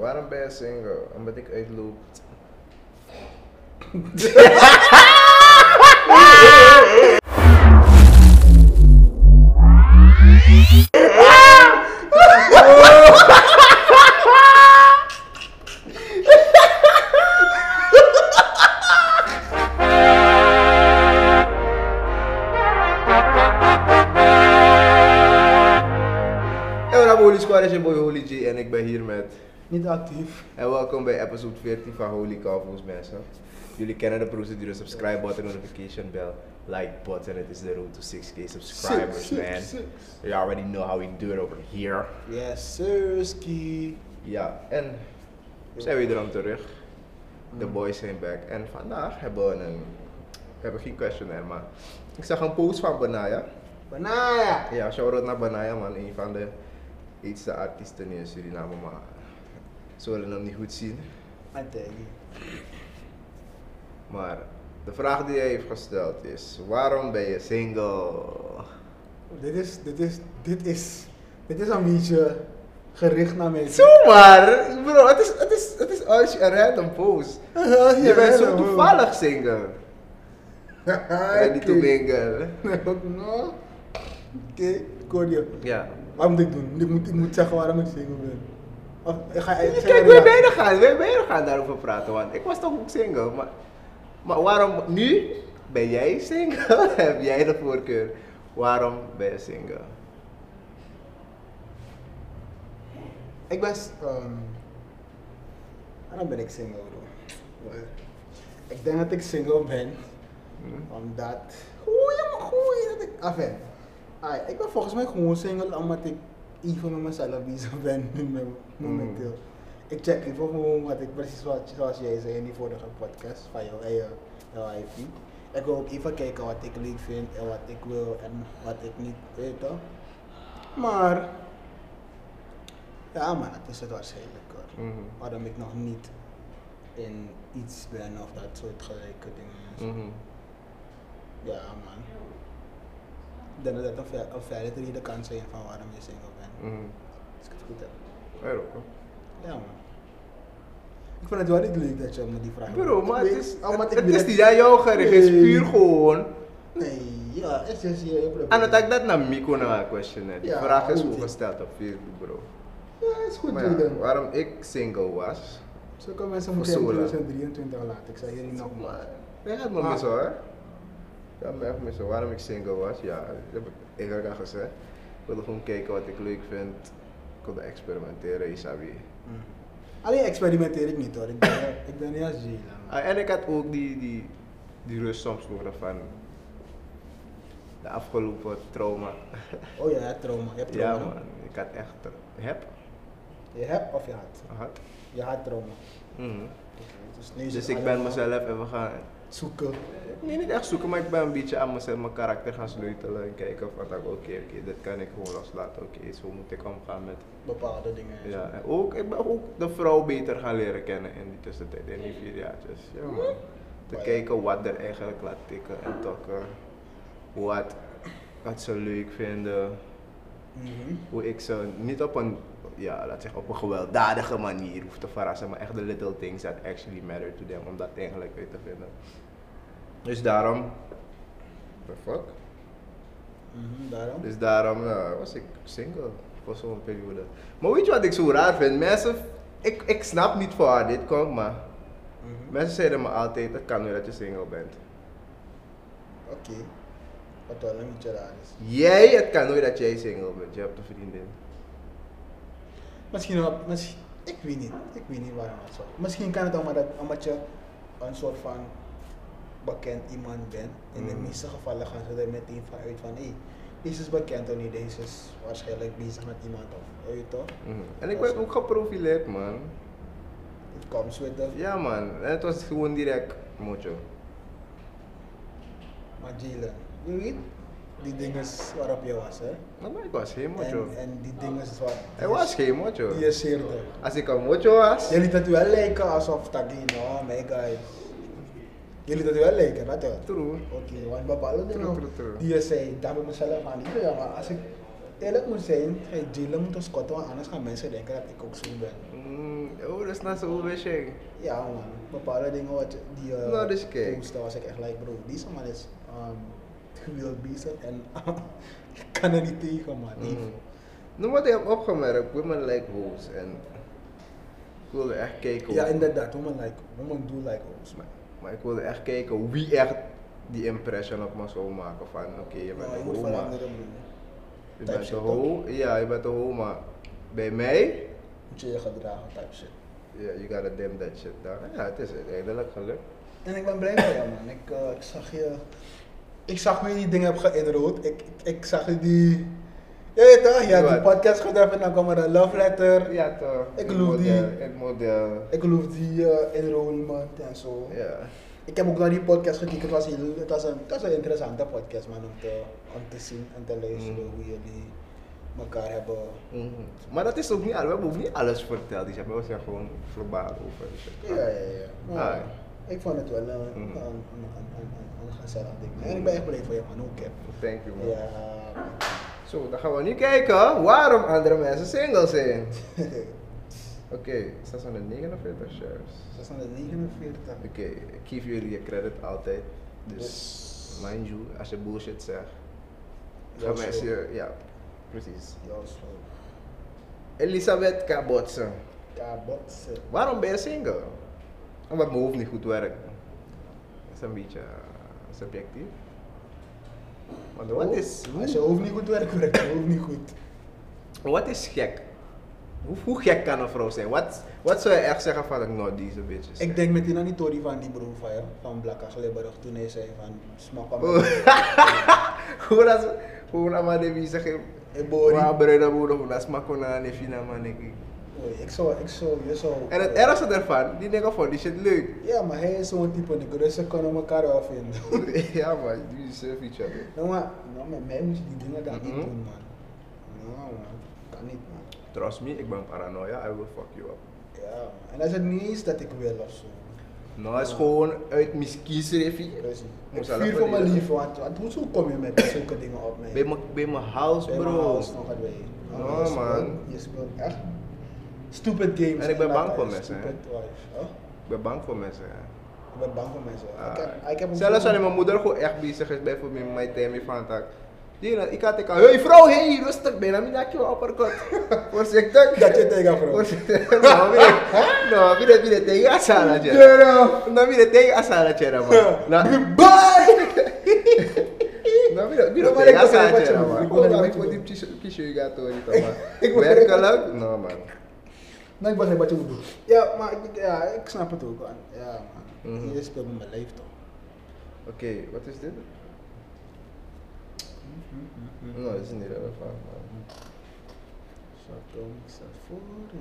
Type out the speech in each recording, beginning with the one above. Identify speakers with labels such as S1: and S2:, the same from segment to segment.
S1: waarom ben je single? Omdat ik uitloop. En we hebben Holy Squad, het is je boy Holy G en ik ben hier met...
S2: Niet actief.
S1: En welkom bij episode 14 van Holy Cowboys mensen. Jullie kennen de procedure, subscribe button, notification bell, like button, it is the road to 6k subscribers
S2: Six, six,
S1: man.
S2: six.
S1: You already know how we do it over here.
S2: Yes, sir, ski.
S1: Ja, en zijn we erom terug. De boys zijn back. En vandaag hebben we een... We hebben geen questionnaire, maar... Ik zag een post van Benaya.
S2: Banaya.
S1: Ja, shout-out naar Banaya, man. Een van de eerste artiesten in Suriname, maar... Ze willen hem niet goed zien.
S2: Antegi.
S1: Maar de vraag die hij heeft gesteld is: waarom ben je single?
S2: Oh, Dit is, dit is, dit is, dit is een beetje gericht naar mensen.
S1: Zomaar! Bro, het is, het is, het is als je een random post.
S2: Ja,
S1: Je bent zo
S2: ja,
S1: toevallig single. Ready to
S2: Oké.
S1: mingle.
S2: Nou, Oké, ik hoor je.
S1: Ja.
S2: Wat moet ik doen? Ik moet, ik moet zeggen waarom ik single ben. Of ik ga ik zeg
S1: Kijk,
S2: maar
S1: we
S2: ja.
S1: bijna gaan, we bijna gaan daarover praten, want ik was toch ook single. Maar, maar waarom nu ben jij single? Heb jij de voorkeur? Waarom ben je single?
S2: Ik ben. s- ehm, waarom ben ik single, bro? Wel, Ik denk dat ik single ben
S1: Hm?
S2: omdat. Goeie, maar goeie dat ik. Enfin, ai, ik ben volgens mij gewoon single omdat ik even met mezelf bezig ben nu mom- momenteel. Ik check even gewoon wat ik precies wat, zoals jij zei in die vorige podcast van jouw eigen jouw IP. Ik wil ook even kijken wat ik leuk vind en wat ik wil en wat ik niet weet. Toch? Maar ja, maar dat is het waarschijnlijk hoor.
S1: Mhm.
S2: Waarom ik nog niet in iets ben of dat soort gelijke dingen.
S1: Mhm.
S2: Ja, man. Ik denk dat dat een ver- een verre reden kan zijn van waarom je single bent.
S1: Mhm.
S2: Als ik het goed heb.
S1: Ja, ook, hoor.
S2: Ja, man. Ik vond het wel niet leuk dat je me die vraag
S1: Bro, maar het
S2: Ik
S1: is,
S2: weet- omdat
S1: het,
S2: ik
S1: het
S2: weet-
S1: is niet aan jou gericht, het is puur gewoon.
S2: Nee, ja, het is je probleem.
S1: En dat ik dat naar Miko naar question heb. Die
S2: Ja,
S1: vraag is
S2: goed.
S1: ook gesteld op Facebook, bro.
S2: Ja, het is goed,
S1: Maar ja,
S2: Jaden.
S1: waarom ik single was.
S2: Zulke mensen
S1: Voor
S2: moeten in
S1: Sola.
S2: 2023 laten. Ik zeg jullie nog
S1: Maar,
S2: maar.
S1: dat gaat me
S2: Maar-
S1: missen hoor. Dat gaat me echt missen. Waarom ik single was, ja, dat heb ik eerder al gezegd. Ik wilde gewoon kijken wat ik leuk vind. Ik wilde experimenteren, Isabi.
S2: Mm. Alleen experimenteer ik niet hoor. Ik ben, ik ben niet als Jalen. man.
S1: Ah, en ik had ook die, die, die rust soms nodig van de afgelopen trauma.
S2: Oh ja, ja, trauma. Je hebt trauma.
S1: Ja man, ik had echt, heb,
S2: Je hebt of je had?
S1: gehad.
S2: Je had trauma.
S1: Mhm.
S2: Dus, nu is
S1: Dus
S2: het
S1: ik ben
S2: allemaal
S1: mezelf even gaan.
S2: Zoeken.
S1: Nee, niet echt zoeken, maar ik ben een beetje aan mezelf, mijn karakter gaan sleutelen. En kijken van oké, oké, dit kan ik gewoon loslaten. Oké, zo moet ik omgaan met.
S2: Bepaalde dingen. en
S1: Ja, en ook, ik ben ook de vrouw beter gaan leren kennen in die tussentijd, in die vier jaartjes. Ja, man.
S2: Mhm.
S1: Te kijken wat er eigenlijk laat tikken en tokken. Wat, wat ze leuk vinden.
S2: zo. Mhm.
S1: Hoe ik ze niet op een, ja, laat zeggen, op een gewelddadige manier hoef te verrassen, maar echt de little things that actually matter to them, om dat eigenlijk uit te vinden. Dus daarom. The fuck?
S2: Mhm, Daarom.
S1: Dus daarom eh, was ik single voor zo'n periode. Maar weet je wat ik zo raar vind? Mensen, ik, ik snap niet van waar dit komt, maar
S2: Mhm.
S1: mensen zeiden me altijd: het kan nu dat je single bent.
S2: Oké. Wat wel een beetje raar is.
S1: Jij, het kan nooit dat jij single bent. Je hebt een vriendin.
S2: Misschien wel, misschien, ik weet niet, ik weet niet waarom het zo. Misschien kan het omdat, het- omdat je een soort van bekend iemand bent. In de
S1: Mm.
S2: meeste gevallen gaan ze er meteen van uit van, hé, deze is bekend of niet, deze is waarschijnlijk bezig met iemand of, weet je toch?
S1: Mhm. En ik werd ook geprofileerd, man.
S2: Het komt zo dat,
S1: Ja, man. En het was gewoon direct mojo.
S2: maar Jalen, je weet, die dingen waarop je was, hè?
S1: Nou, maar ik was geen mojo.
S2: En, en die dingen is waar...
S1: Hij was geen mojo.
S2: Die je zeerde.
S1: Als ik een mojo was,
S2: Je liet het wel lijken alsof Tagino, oh my god. Je liet het wel lijken, dat wel.
S1: true.
S2: Oké, want bepaalde dingen
S1: True, true, true.
S2: die je zei, daar ben ik mezelf aan niet. Ja, maar als ik eerlijk moet zijn, hey, Dylan moet ons korten, want anders gaan mensen denken dat ik ook zo ben.
S1: Mm, oh, dus naar zijn overwissing.
S2: Ja, man. Bepaalde dingen wat die eh
S1: Nou, dus kijk.
S2: postte was ik echt like, bro, deze man is um, gewild bezig en ik kan er niet tegen, man. Die-
S1: Mm. Nou, wat ik heb opgemerkt, women like hoes. En ik wilde echt kijken.
S2: Ja,
S1: hoe-
S2: inderdaad. Women like, women do like oh, hoes, man.
S1: Maar, maar ik wilde echt kijken wie echt die impression op me zou maken. Van oké, je bent
S2: Ja, je
S1: een
S2: moet
S1: hoe, maar.
S2: veranderen, bro.
S1: Je
S2: Type
S1: bent
S2: shit,
S1: een hoe. Ja, je bent een hoe, maar bij mij,
S2: Moet je je gedragen, type shit.
S1: ja, you gotta dim that shit down. Ja, het is eh, uiteindelijk gelukt.
S2: En ik ben blij met jou, man. Ik, eh, ik zag je. Ik zag hoe je die dingen hebt geïnrood. Ik, ik, ik zag je die. Je weet toch? Je hebt die
S1: Wat?
S2: podcast gedaan en dan kwam er een love letter.
S1: Ja, toch.
S2: Ik
S1: Het
S2: geloof
S1: model-
S2: die.
S1: Het model.
S2: Ik geloof die eh enrollment en zo.
S1: Ja.
S2: Ik heb ook naar die podcast gekeken. Het was, heel, het was, een, het was een interessante podcast, man. Om te, om te zien en te luisteren
S1: Mm.
S2: hoe jullie elkaar hebben.
S1: Mhm. Maar dat is ook niet alles. We hebben ook niet alles verteld. Die hebben we zijn gewoon verbaal over. die shit.
S2: Ja, ja, ja. Maar
S1: Ah.
S2: Ik vond het wel eh, een,
S1: Mm.
S2: een, een, een, een, een gezellig ding. En ik ben echt blij voor je, man. Ook, hè.
S1: Thank you, man.
S2: Ja,
S1: Zo, dan gaan we nu kijken waarom andere mensen single zijn.
S2: man.
S1: Oké, 649 shares.
S2: 649.
S1: Oké, ik geef jullie je credit altijd. Dus,
S2: Dus.
S1: mind you, als je bullshit zegt,
S2: Ja,
S1: gaan mensen
S2: zo.
S1: je... Ja, precies.
S2: Ja, zo.
S1: Elisabeth Kabotsen.
S2: Ja, botsen.
S1: Waarom ben je single? Omdat mijn hoofd niet goed werkt. Dat is een beetje eh, subjectief. Want
S2: Oh,
S1: wat is...
S2: Als je hoofd niet goed werkt, werkt je hoofd niet goed.
S1: Wat is gek? Hoe, hoe gek kan een vrouw zijn? Wat, wat zou je echt zeggen van, nou, deze bitch is
S2: Ik
S1: gek."
S2: denk meteen aan die Tory van die broer van jou, van Blakka Glibberig, toen hij zei van smak van
S1: Oh.
S2: mij.
S1: Hoe dat... Hoe dat maar de wie zegt...
S2: Eh, Bori.
S1: Maar breda moeder, hoe dat smaakt naar de fina man, denk ik.
S2: Oei, ik zou, ik zou, je zou...
S1: En het ergste daarvan, die nigga vond die shit leuk.
S2: Ja, maar hij is zo'n type nigger, dus ze kunnen elkaar wel vinden.
S1: ja man, die deserve each other.
S2: nou, maar, nou, met mij moet je die dingen dan
S1: Mhm.
S2: niet doen, man. Nou, man. Kan niet, man.
S1: Trust me, ik ben paranoia, I will fuck you up.
S2: Ja, man. En dat is het niet eens dat ik wil of zo.
S1: Nou, het is gewoon uit mijn kiesrefie.
S2: Precies. Ik
S1: Moest alle
S2: vier voor mijn
S1: verdedigen.
S2: liefde, want, want hoezo kom je met zulke dingen op mij?
S1: Bij mijn- Bij mijn house,
S2: Bij mijn
S1: bro.
S2: huis nog erbij.
S1: Ja,
S2: Oh, je
S1: man.
S2: speelt- Je speelt echt Ah. stupid games.
S1: En ik ben
S2: dat
S1: bang
S2: is
S1: voor mensen, hè.
S2: Stupid wife. Oh, Huh?
S1: Ik ben bang voor mensen. hè.
S2: Ik ben bang voor mensen. ik heb, ik heb
S1: Ah.
S2: een
S1: Zelfs
S2: vriend-
S1: wanneer mijn moeder gewoon echt bezig is, bijvoorbeeld met mijn Tammy van tak. Die, nou, ik had ik al, hey vrouw, hey, rustig, ben dan niet je opperkot. Voorzichtig.
S2: Dat je tegen vrouw.
S1: Voorzichtig. Nou, wie dat- Nou, wie dat wie dat tegen Asana, Jera.
S2: Jero.
S1: Nou, wie dat tegen Asana, Jera, man. Nou,
S2: Bye!
S1: nou, wie dat wie dat tegen
S2: Nou, maar ik begrijp
S1: Asana,
S2: wat je
S1: Jera,
S2: bedoelt.
S1: man.
S2: Ik begrijp
S1: Oh, nou,
S2: wat
S1: ik
S2: je
S1: moet die
S2: bedoelt.
S1: kies- kies je gaat hoor, niet, man.
S2: ik begrijp wat
S1: Werkelijk? Nou, man.
S2: Nou, ik begrijp wat je bedoelt. Ja, maar ik, ja, ik snap het ook. Man. Ja, man.
S1: Mhm.
S2: Je speelt met mijn leven toch?
S1: Oké, wat is dit? Nou, dat is niet relevant, man.
S2: Zo, kom ik sta voor.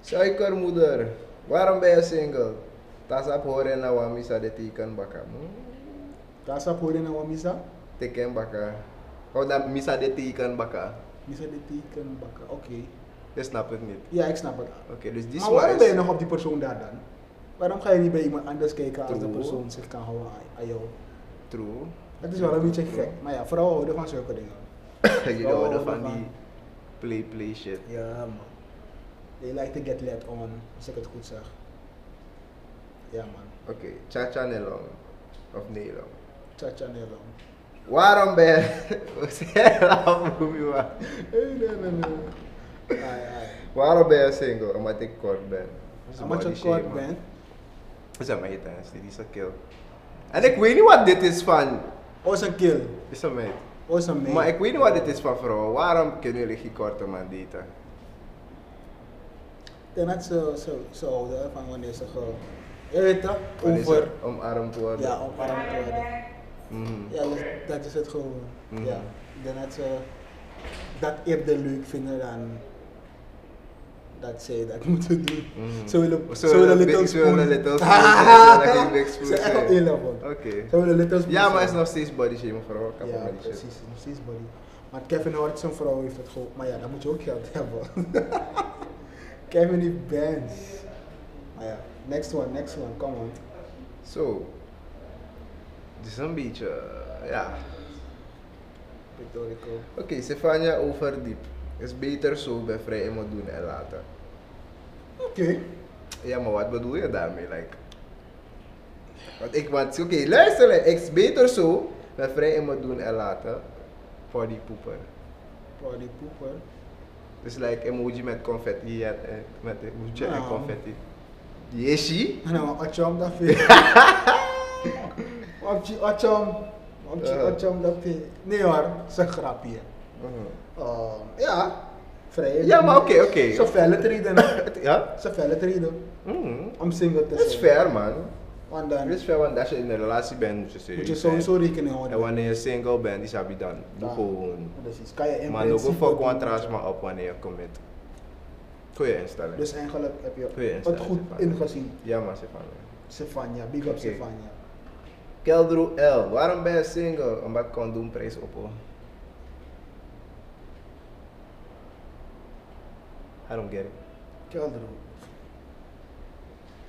S1: Suikermoeder, waarom ben je single? Tasap hore na wami sa de tikan baka. Hmm.
S2: Daar staat voor in een wamisa.
S1: Tiken baka. Oh, dat misa de tikan baka.
S2: Misa de teken bakken. Oké.
S1: Je snapt het niet.
S2: Ja, ik snap het.
S1: Oké, dus die
S2: maar
S1: smaak
S2: waarom
S1: is-
S2: ben je nog op die persoon daar dan? Waarom ga je niet bij iemand anders kijken als de
S1: True.
S2: persoon zich kan houden aan, aan jou?
S1: True.
S2: Het is wel een beetje gek, maar ja, vrouwen houden van zulke dingen.
S1: Jullie
S2: Oh,
S1: houden
S2: dat
S1: van
S2: van-
S1: die play play shit.
S2: Ja, man. They like to get let on, als ik het goed zeg. Ja, man.
S1: Oké, Chacha Nelong. Of Nelong.
S2: Chacha Nelo.
S1: Waarom ben je... Zelf, hoe je wa-
S2: Hey, nee, nee, nee. Ai, ai.
S1: Waarom ben je single? Omdat ik kort ben. Dat is een
S2: Omdat
S1: body
S2: je
S1: shame,
S2: kort
S1: man.
S2: bent.
S1: Dat is een meid, hè. Dit is een kill. En ik weet niet wat dit is van.
S2: Oh, is een kill.
S1: Dit is een meid.
S2: Oh, is een man.
S1: Maar ik weet niet wat dit is van vrouwen. Waarom kunnen jullie geen korte man daten?
S2: En dat ze, ze, ze houden hè, van wanneer ze ge... Je weet toch?
S1: Wanneer ze
S2: Over.
S1: Omarmd worden.
S2: Ja, omarmd worden.
S1: Mhm.
S2: Ja, dat, dat is het gewoon.
S1: Mhm.
S2: Ja. Ik denk dat ze dat eerder leuk vinden dan dat zij dat moeten doen.
S1: Mhm.
S2: Ze willen,
S1: Ze
S2: ze willen
S1: willen
S2: Little
S1: big- ze willen
S2: Spoon.
S1: Little Spoon, ze willen geen
S2: Ze
S1: big
S2: zijn
S1: spoon
S2: echt op
S1: zijn.
S2: één level.
S1: Oké.
S2: Ze willen Little Spoon.
S1: Ja, maar het is
S2: zijn.
S1: nog steeds body shame vrouwen. Ik heb
S2: Ja,
S1: ook body shame.
S2: precies. Nog steeds body. Maar Kevin Hart, zijn vrouw, heeft het gewoon. Maar ja, dan moet je ook geld hebben. Kevin heeft bands. Maar ja, next one, next one, come on.
S1: Zo. Het is een beetje. eh, ja.
S2: Pictorico.
S1: Oké, Stefania overdiep. Is beter zo bij vrij en moet doen en laten.
S2: Oké.
S1: Ja, maar wat bedoel je daarmee? Like, want ik wat, oké, luister, hè. ik is beter zo dat vrij in me doen en laten voor die poeper.
S2: Party poeper.
S1: Dus like emoji met confetti, en, en- met emoji en
S2: Nou.
S1: confetti. Yeshi?
S2: Nou, acham dat vind Optie acham. Optie
S1: Ja.
S2: acham dat vind Nee hoor, ze grapje. Ehm, ja, vrij.
S1: Ja, maar oké, oké.
S2: Zo fel het reden.
S1: Het- Ja?
S2: Zo fel het reden
S1: Mm.
S2: om single te
S1: Dat
S2: zijn.
S1: is fair man.
S2: Want
S1: Dat
S2: dan
S1: is fair, want als je in een relatie bent moet je
S2: moet je
S1: serieus zijn.
S2: sowieso rekening houden.
S1: En wanneer je single bent, is dat dan. Doe
S2: Ja.
S1: gewoon.
S2: Precies, kan je in
S1: Maar ook
S2: principe
S1: voor
S2: doen.
S1: contrast maar op wanneer je commit. Goeie instelling.
S2: Dus eigenlijk heb
S1: Goeie
S2: je het
S1: instelling,
S2: goed
S1: Stefan.
S2: ingezien.
S1: ja maar Stefan.
S2: Stefania, big up
S1: Oké.
S2: Stefania.
S1: Keldro L, waarom ben je single? Omdat condoomprijs op hoor. I don't get it.
S2: Keldro.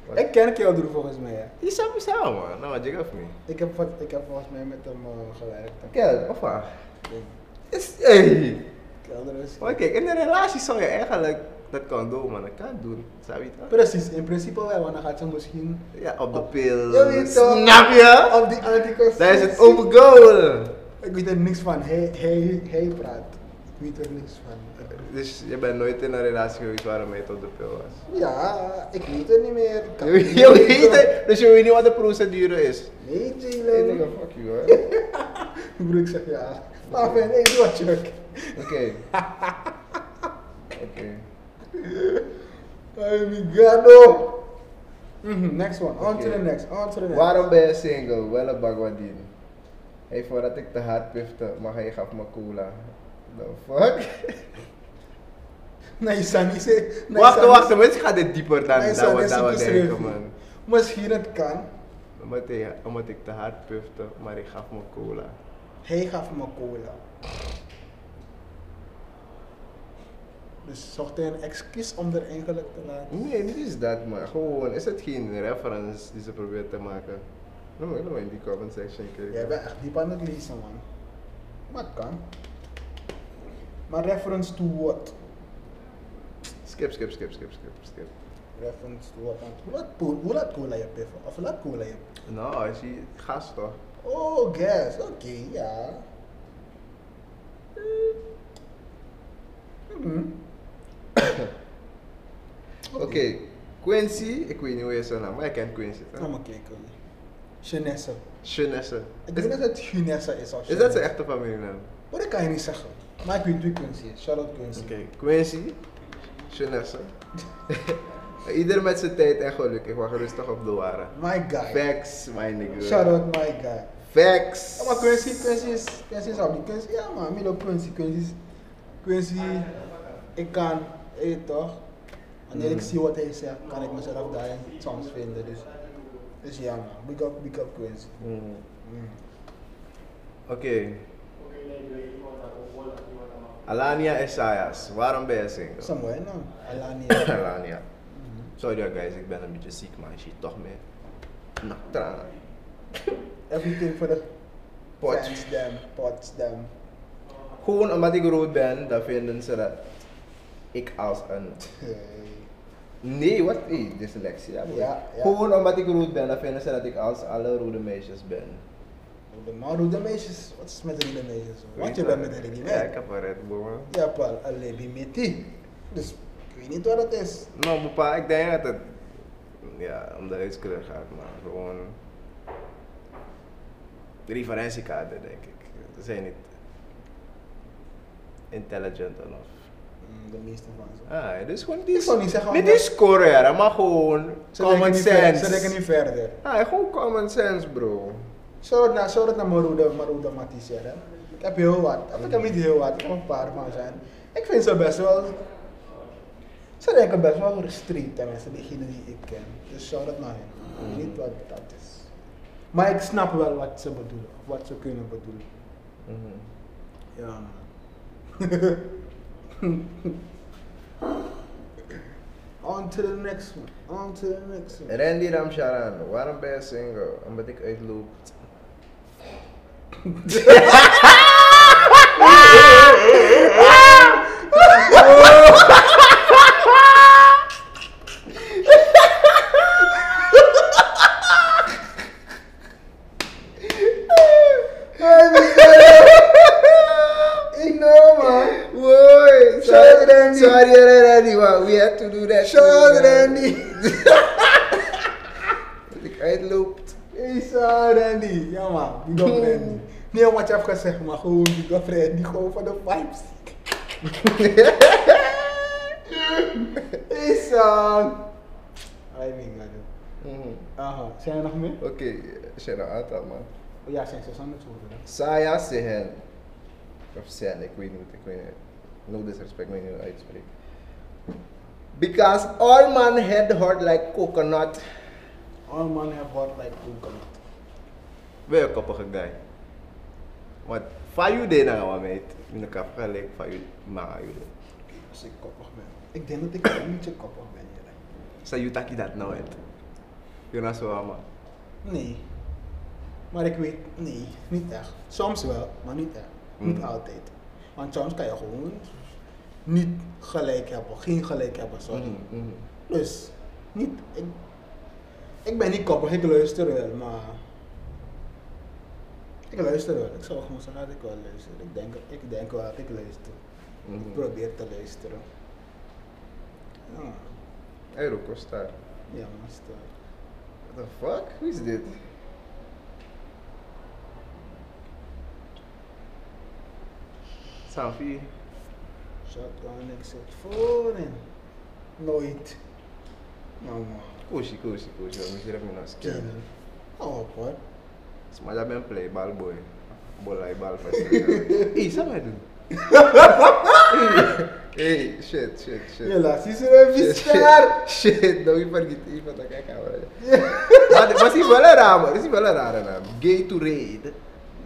S1: Wat-
S2: Ik ken Keldro volgens mij. Hè.
S1: Je zou me samen man, nou wat je gaf me.
S2: Ik, heb, wat- ik heb volgens mij met hem eh, gewerkt.
S1: Kel, of wat?
S2: Ik denk,
S1: Is, hey.
S2: Keldro is.
S1: Maar kijk, in een relatie zou je eigenlijk dat condoom man, dat kan doen. Zou je dat?
S2: Precies, in principe wel, want dan gaat ze misschien
S1: Ja, op de pil.
S2: Ja, weet toch.
S1: Snap je?
S2: op die anticonceptie.
S1: Daar is het over goal.
S2: Ik weet er niks van. Hij, hij, hij praat. Ik weet er niks van.
S1: Dus je bent nooit in een relatie geweest waarom hij op de pil was?
S2: Ja, ik weet het niet meer. Ik kan
S1: Je,
S2: het
S1: weet-
S2: niet
S1: je
S2: weten.
S1: weet het, dus je weet niet wat de procedure is.
S2: Nee,
S1: Ik
S2: Jalen.
S1: denk, oh, fuck you hoor.
S2: Broer, ik zeg ja. Maar vind ik wat Chuck.
S1: Oké. Oké.
S2: Oh my god, no. Mhm, next one. On to
S1: Oké.
S2: the next. On to the next.
S1: Waarom ben je single? Wel een bagwadin. Hey, voordat ik te hard pifte, maar hij gaf me cola. The fuck?
S2: Nee, Sunny zei... nee,
S1: wacht,
S2: Sunny-
S1: wacht, mensen gaan dit dieper dan,
S2: Nee,
S1: dan,
S2: Sunny
S1: wat-
S2: is
S1: dan
S2: een
S1: wat denken,
S2: kiesrevie.
S1: man.
S2: Misschien het kan.
S1: Omdat, hij, omdat ik te hard pifte, maar hij gaf me cola.
S2: Hij gaf me cola. Dus zocht hij een excuus om er eigenlijk te laten.
S1: Nee, niet is dat, maar gewoon, is het geen reference die ze probeert te maken? Nou, Noem maar, noem maar in die comment section kijken.
S2: Jij bent echt diep aan het lezen, man. Maar het kan. Maar reference to what?
S1: Skip, skip, skip, skip, skip, skip.
S2: Reference to what? Want Hoe laat, po- hoe laat cola je piffen? Of hoe laat cola je
S1: Nou, zie, gast toch?
S2: Oh, gas. Oké, ja. Mhm.
S1: Oké, Quincy, ik weet niet hoe je zijn naam, maar ik ken Quincy
S2: Ga
S1: toch?
S2: maar kijken. Chinese.
S1: Chinesse.
S2: Ik
S1: Is,
S2: weet niet of het Chinese is of
S1: is dat
S2: Chinese.
S1: zijn echte familienaam?
S2: Maar dat kan je niet zeggen. Maar ik weet wie Quincy is. Shout-out Quincy.
S1: Quincy, Chinesse. Ieder met zijn tijd en geluk, ik wacht rustig op de ware.
S2: My guy.
S1: Facts, my nigga.
S2: Shout-out my guy.
S1: Facts.
S2: Ja, maar Quincy, Quincy is, Quincy is op die Quincy. Ja man, Milo Quincy, Quincy is, Quincy, ik kan, eh toch. Wanneer ik zie wat hij zegt, kan ik mezelf daarin soms vinden. Dus, dus ja man, big up, big up Quincy.
S1: Mm.
S2: Mm.
S1: Oké. Alania Esayas, waarom ben je single?
S2: Somewhere nou, Alani.
S1: Alania. Sorry hoor, guys, ik ben een beetje ziek, maar ik zie toch meer. Nou, tranen.
S2: Everything for the
S1: Pot.
S2: fans, them, pots, them.
S1: Gewoon omdat ik rood ben, dan vinden ze dat ik als een. Nee, wat? Hey, dyslexie. Ja, boy.
S2: Ja, ja.
S1: Gewoon omdat ik rood ben, dan vinden ze dat ik als alle rode meisjes ben.
S2: De man doet de meisjes, wat is met de rode meisjes?
S1: Weet
S2: Want je bent
S1: dat?
S2: met de rode
S1: Ja, ik
S2: meisjes.
S1: heb een Red Bull, man.
S2: Ja, Paul, alleen die met die. Dus ik weet niet wat dat is.
S1: Nou, papa, ik denk dat het. Ja, om de huidskleur gaat, maar gewoon. De referentiekader, denk ik. Ze zijn niet. intelligent enough.
S2: Mm, De meeste van ze.
S1: Ah, dit is gewoon.
S2: Ik zou niet zeggen
S1: Dit
S2: omdat-
S1: is Korea, maar gewoon.
S2: Ze denken
S1: Common
S2: niet ver- Ze denken
S1: sense.
S2: niet verder.
S1: Ah, gewoon common sense, bro.
S2: Shout-out naar, shout naar Maruda, Maruda Matisse, hè. Ik heb heel wat. Of ik heb niet heel wat. Ik heb een paar van zijn. Ik vind ze best wel... Ze denken best wel restrikt, tenminste, diegenen die ik ken. Dus shout-out naar hen. Ik weet niet wat dat is. Maar ik snap wel wat ze bedoelen. Of wat ze kunnen bedoelen.
S1: Mhm.
S2: Ja, man. On to the next one. On to the next one.
S1: Randy Ramcharan, waarom ben je single? Omdat ik uitloop. that, to doen dat.
S2: Shoulder
S1: en
S2: Randy.
S1: Dat ik uitloopt.
S2: Is eh, Randy. Ja man, big up Randy. Niet om wat je hebt gezegd, maar gewoon big up Randy. Gewoon van de vibes. Is eh, Ay, mijn god.
S1: Mhm.
S2: Aha, zijn er nog meer?
S1: Oké, er zijn een aantal man.
S2: Oh, ja, zijn 600 woorden. hè?
S1: Saya Sehen. Of Sen, ik weet niet. Ik weet niet. No disrespect, ik weet niet hoe uitspreek. Because all man had heart like coconut.
S2: All men have heart like coconut.
S1: Ben je koppige guy? Want Fayu deed nou wat meet. In de kap gelijk Fayu Mayu.
S2: Als ik koppig ben. Ik denk dat ik een beetje koppig ben. Jelle.
S1: Zou je taki dat nou het? Jonas Wama.
S2: Nee. Maar ik weet, nee, niet echt. Soms wel, maar niet echt. Niet
S1: Mm.
S2: altijd. Want soms kan je gewoon niet gelijk hebben, geen gelijk hebben, sorry.
S1: Hmm. Mm-hmm,
S2: Dus, niet, ik, ik ben niet koppig, ik luister wel, maar... Ik luister wel, ik zou gewoon zeggen dat ik wel luister. Ik denk, ik denk wel dat ik luister.
S1: Hmm. mm-hmm.
S2: Ik probeer te luisteren. Ja,
S1: Eurocostar.
S2: ja maar stel.
S1: What the fuck? Who is dit? Sanfi.
S2: Shotgun exit voor en nooit. Nou man,
S1: Kushi, kushi, kushi. We moeten even naar
S2: kill.
S1: scannen.
S2: Hou op hoor.
S1: Maar dat ben play, bal boy. Bola, e bal vast. Hé, zou mij doen? Hey, shit, shit, shit.
S2: Je laat je zo
S1: Shit,
S2: even staan.
S1: Shit, shit, nou iemand niet iemand dat kijkt aan Maar maar het is wel een raar, man. Het is wel een rare naam. Gay to raid.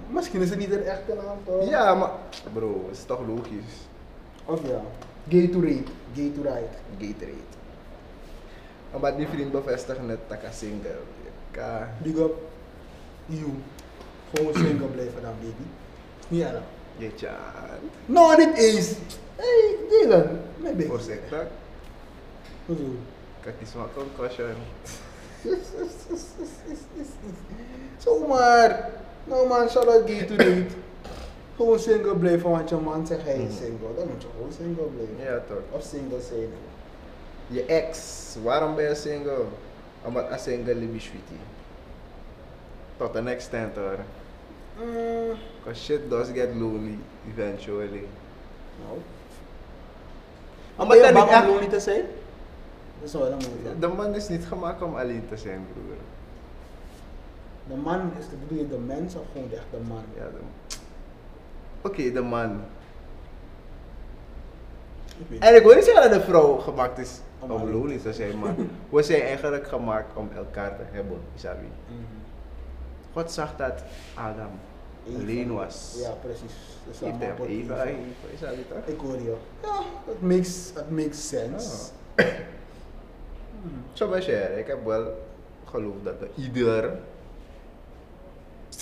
S2: Misschien is het niet een echte naam toch?
S1: Ja, maar bro, het is toch logisch.
S2: Of ja. Gay to read, gay to ride.
S1: Gay to raid. Omdat die vriend bevestigt net dat ik een single. Ja.
S2: Big up. You. Gewoon single blijven dan baby. Niet erg.
S1: Je chant.
S2: Nou niet eens. Hey Dylan, mijn baby.
S1: Voorzichtig.
S2: Hoezo?
S1: Kijk die smaak van caution.
S2: Zomaar. Nou man, shout out gay to date. Gewoon single blijven, want je man zegt hij is
S1: Mhm.
S2: single. Dan moet je gewoon single blijven.
S1: Ja toch.
S2: Of single zijn.
S1: Je ex, waarom ben je single? Omdat een single lief is met je. Tot een extent hoor.
S2: Mm.
S1: Because shit does get lonely eventually.
S2: Nou.
S1: Maar
S2: ben je
S1: dat
S2: bang
S1: ik echt-
S2: om lonely te zijn? Dat is wel een moeilijk.
S1: De man is niet gemaakt om alleen te zijn, broer.
S2: De man is de bedoel je de mens of gewoon echt de man?
S1: Ja, de... Oké, de man.
S2: Ik weet
S1: En ik wil niet zeggen dat Eh, de vrouw gemaakt is
S2: Om
S1: om,
S2: alleen te
S1: lonely te zijn, maar we zijn eigenlijk gemaakt om elkaar te hebben, Isabi.
S2: Mhm.
S1: God zag dat Adam
S2: Eva.
S1: alleen was.
S2: Ja, precies. Dus
S1: Heeft
S2: allemaal
S1: hem
S2: pot-
S1: Eva gegeven, Isabi toch?
S2: Ik hoor je. Ja, dat makes, dat makes sense. Hmm.
S1: Zo ben je er. Ik heb wel geloofd dat ieder een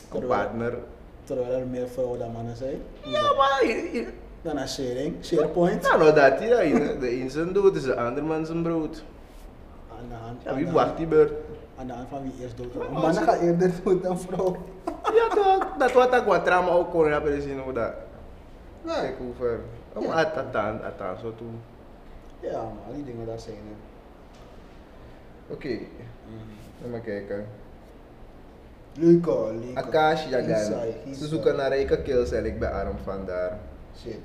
S2: Terwijl-
S1: partner...
S2: Terwijl er meer vrouwen dan mannen zijn.
S1: Ja, maar... je- je-
S2: Dan naar sharing, sharepoint.
S1: Nou, nou dat hij dat. De een zijn dood is de ander man zijn brood.
S2: Aan de hand,
S1: Ja,
S2: aan
S1: wie
S2: de
S1: wacht
S2: hand-
S1: die beurt?
S2: aan de hand van wie eerst dood gaat.
S1: Ja,
S2: Mannen
S1: ze-
S2: gaan eerder dood dan vrouwen.
S1: Ja toch, dat wat ik wat trauma ook kon hebben gezien hoe dat. Nou, ik hoef er. Om
S2: Ja.
S1: at atan, atan, zo toe.
S2: Ja, maar die dingen daar zijn er.
S1: Oké, laten we kijken.
S2: Leuk hoor, leuk. hoor.
S1: Akash
S2: Inside,
S1: Jagan. Ze
S2: inside.
S1: zoeken naar rijke kills en ik ben arm vandaar.
S2: Shit.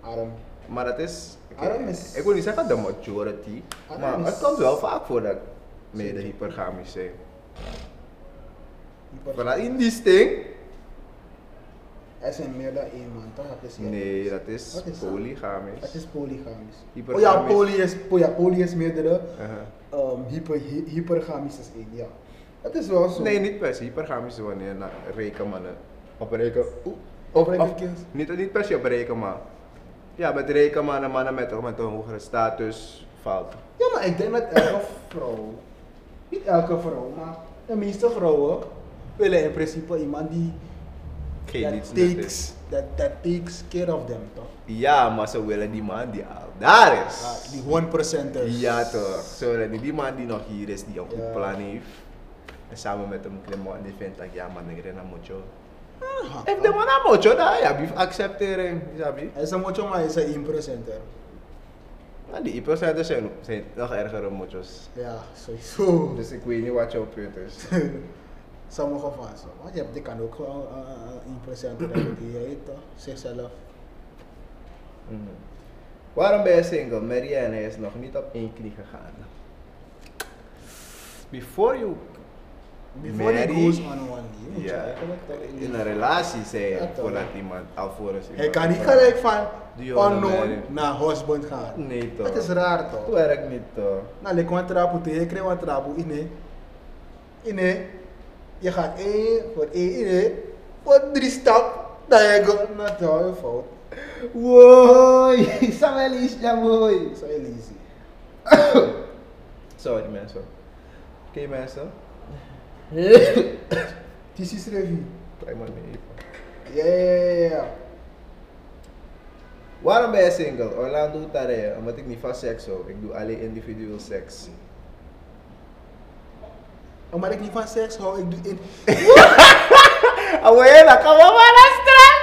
S2: Arm.
S1: Maar dat is.
S2: Arm is-
S1: Ik wil niet zeggen de majority,
S2: Arm
S1: maar
S2: is-
S1: het komt wel vaak voor dat mede hypergamisch zijn.
S2: Die part-
S1: Maar in die sting?
S2: Er zijn meer dan één man, toch? Dat is één.
S1: Nee, dat is
S2: Wat is dat? Het
S1: polygamisch.
S2: is polygamisch. Oh
S1: Hypergamisch.
S2: ja, poly is, po- ja, poly is meerdere.
S1: Aha.
S2: Ehm, hyper, hy- hypergamisch is één, ja. Dat is wel zo.
S1: Nee, niet per se. Hypergamisch is wanneer na, rijke mannen. Op rijke. Oeh, op
S2: Rijke
S1: of-
S2: kills.
S1: Niet, niet per se op rijke man. Ja, met rijke mannen, mannen met, met een hogere status valt.
S2: Ja, maar ik denk dat elke vrouw, niet elke vrouw, maar de meeste vrouwen willen in principe iemand die
S1: Geen
S2: that
S1: niets nuttigs.
S2: takes, that, that takes care of them, toch?
S1: Ja, maar ze willen die man die al daar
S2: Ja,
S1: is.
S2: die 1% is.
S1: Ja toch. Ze willen die, die man die nog hier is, die een goed
S2: Ja.
S1: plan heeft. En samen met hem klimmen en die vindt dat ja man, ik ren naar mocho.
S2: Aha.
S1: If de man naar ya, mocho, dan ja, bief accepteren. Isabi.
S2: Hij is een mocho, maar hij is een 1%er.
S1: Nou, die IPO-cijfers zijn, zijn nog ergere motjes.
S2: Ja, sowieso.
S1: Dus ik weet niet wat jouw punt is.
S2: Sommige van ze. Want je hebt, die kan ook gewoon eh, eh, een procent hebben die heet toch? Zichzelf.
S1: Mhm. Waarom ben je single? Marianne is nog niet op één knie gegaan. Before you iya.
S2: Before he
S1: Mary.
S2: goes on one knee, moet je
S1: ja,
S2: eigenlijk toch in
S1: in
S2: die-
S1: een relatie zijn
S2: Ja, toch.
S1: voordat iemand, alvorens iemand...
S2: Hij kan niet gelijk van
S1: Do you wanna marry?
S2: unknown naar husband gaan.
S1: Nee toch.
S2: Dat is raar
S1: Dat
S2: toch?
S1: werkt niet toch.
S2: Nou, ik want trapu te, ik kreeg wat trapu, ine. Ine. Je gaat één voor één, ine. Voor drie stap, dan je gaat naar jou fout.
S1: Woi, Samuel is ja mooi.
S2: Zo heel easy.
S1: Sorry mensen. Oké mensen.
S2: This is review.
S1: Kijk maar mee even.
S2: Ja, ja, ja, ja.
S1: Waarom ben je single? Orlando Tare, omdat ik niet van seks hou. Ik doe alleen individueel seks.
S2: Omdat ik niet van seks hou, ik doe in.
S1: Awena, kom maar naar straat!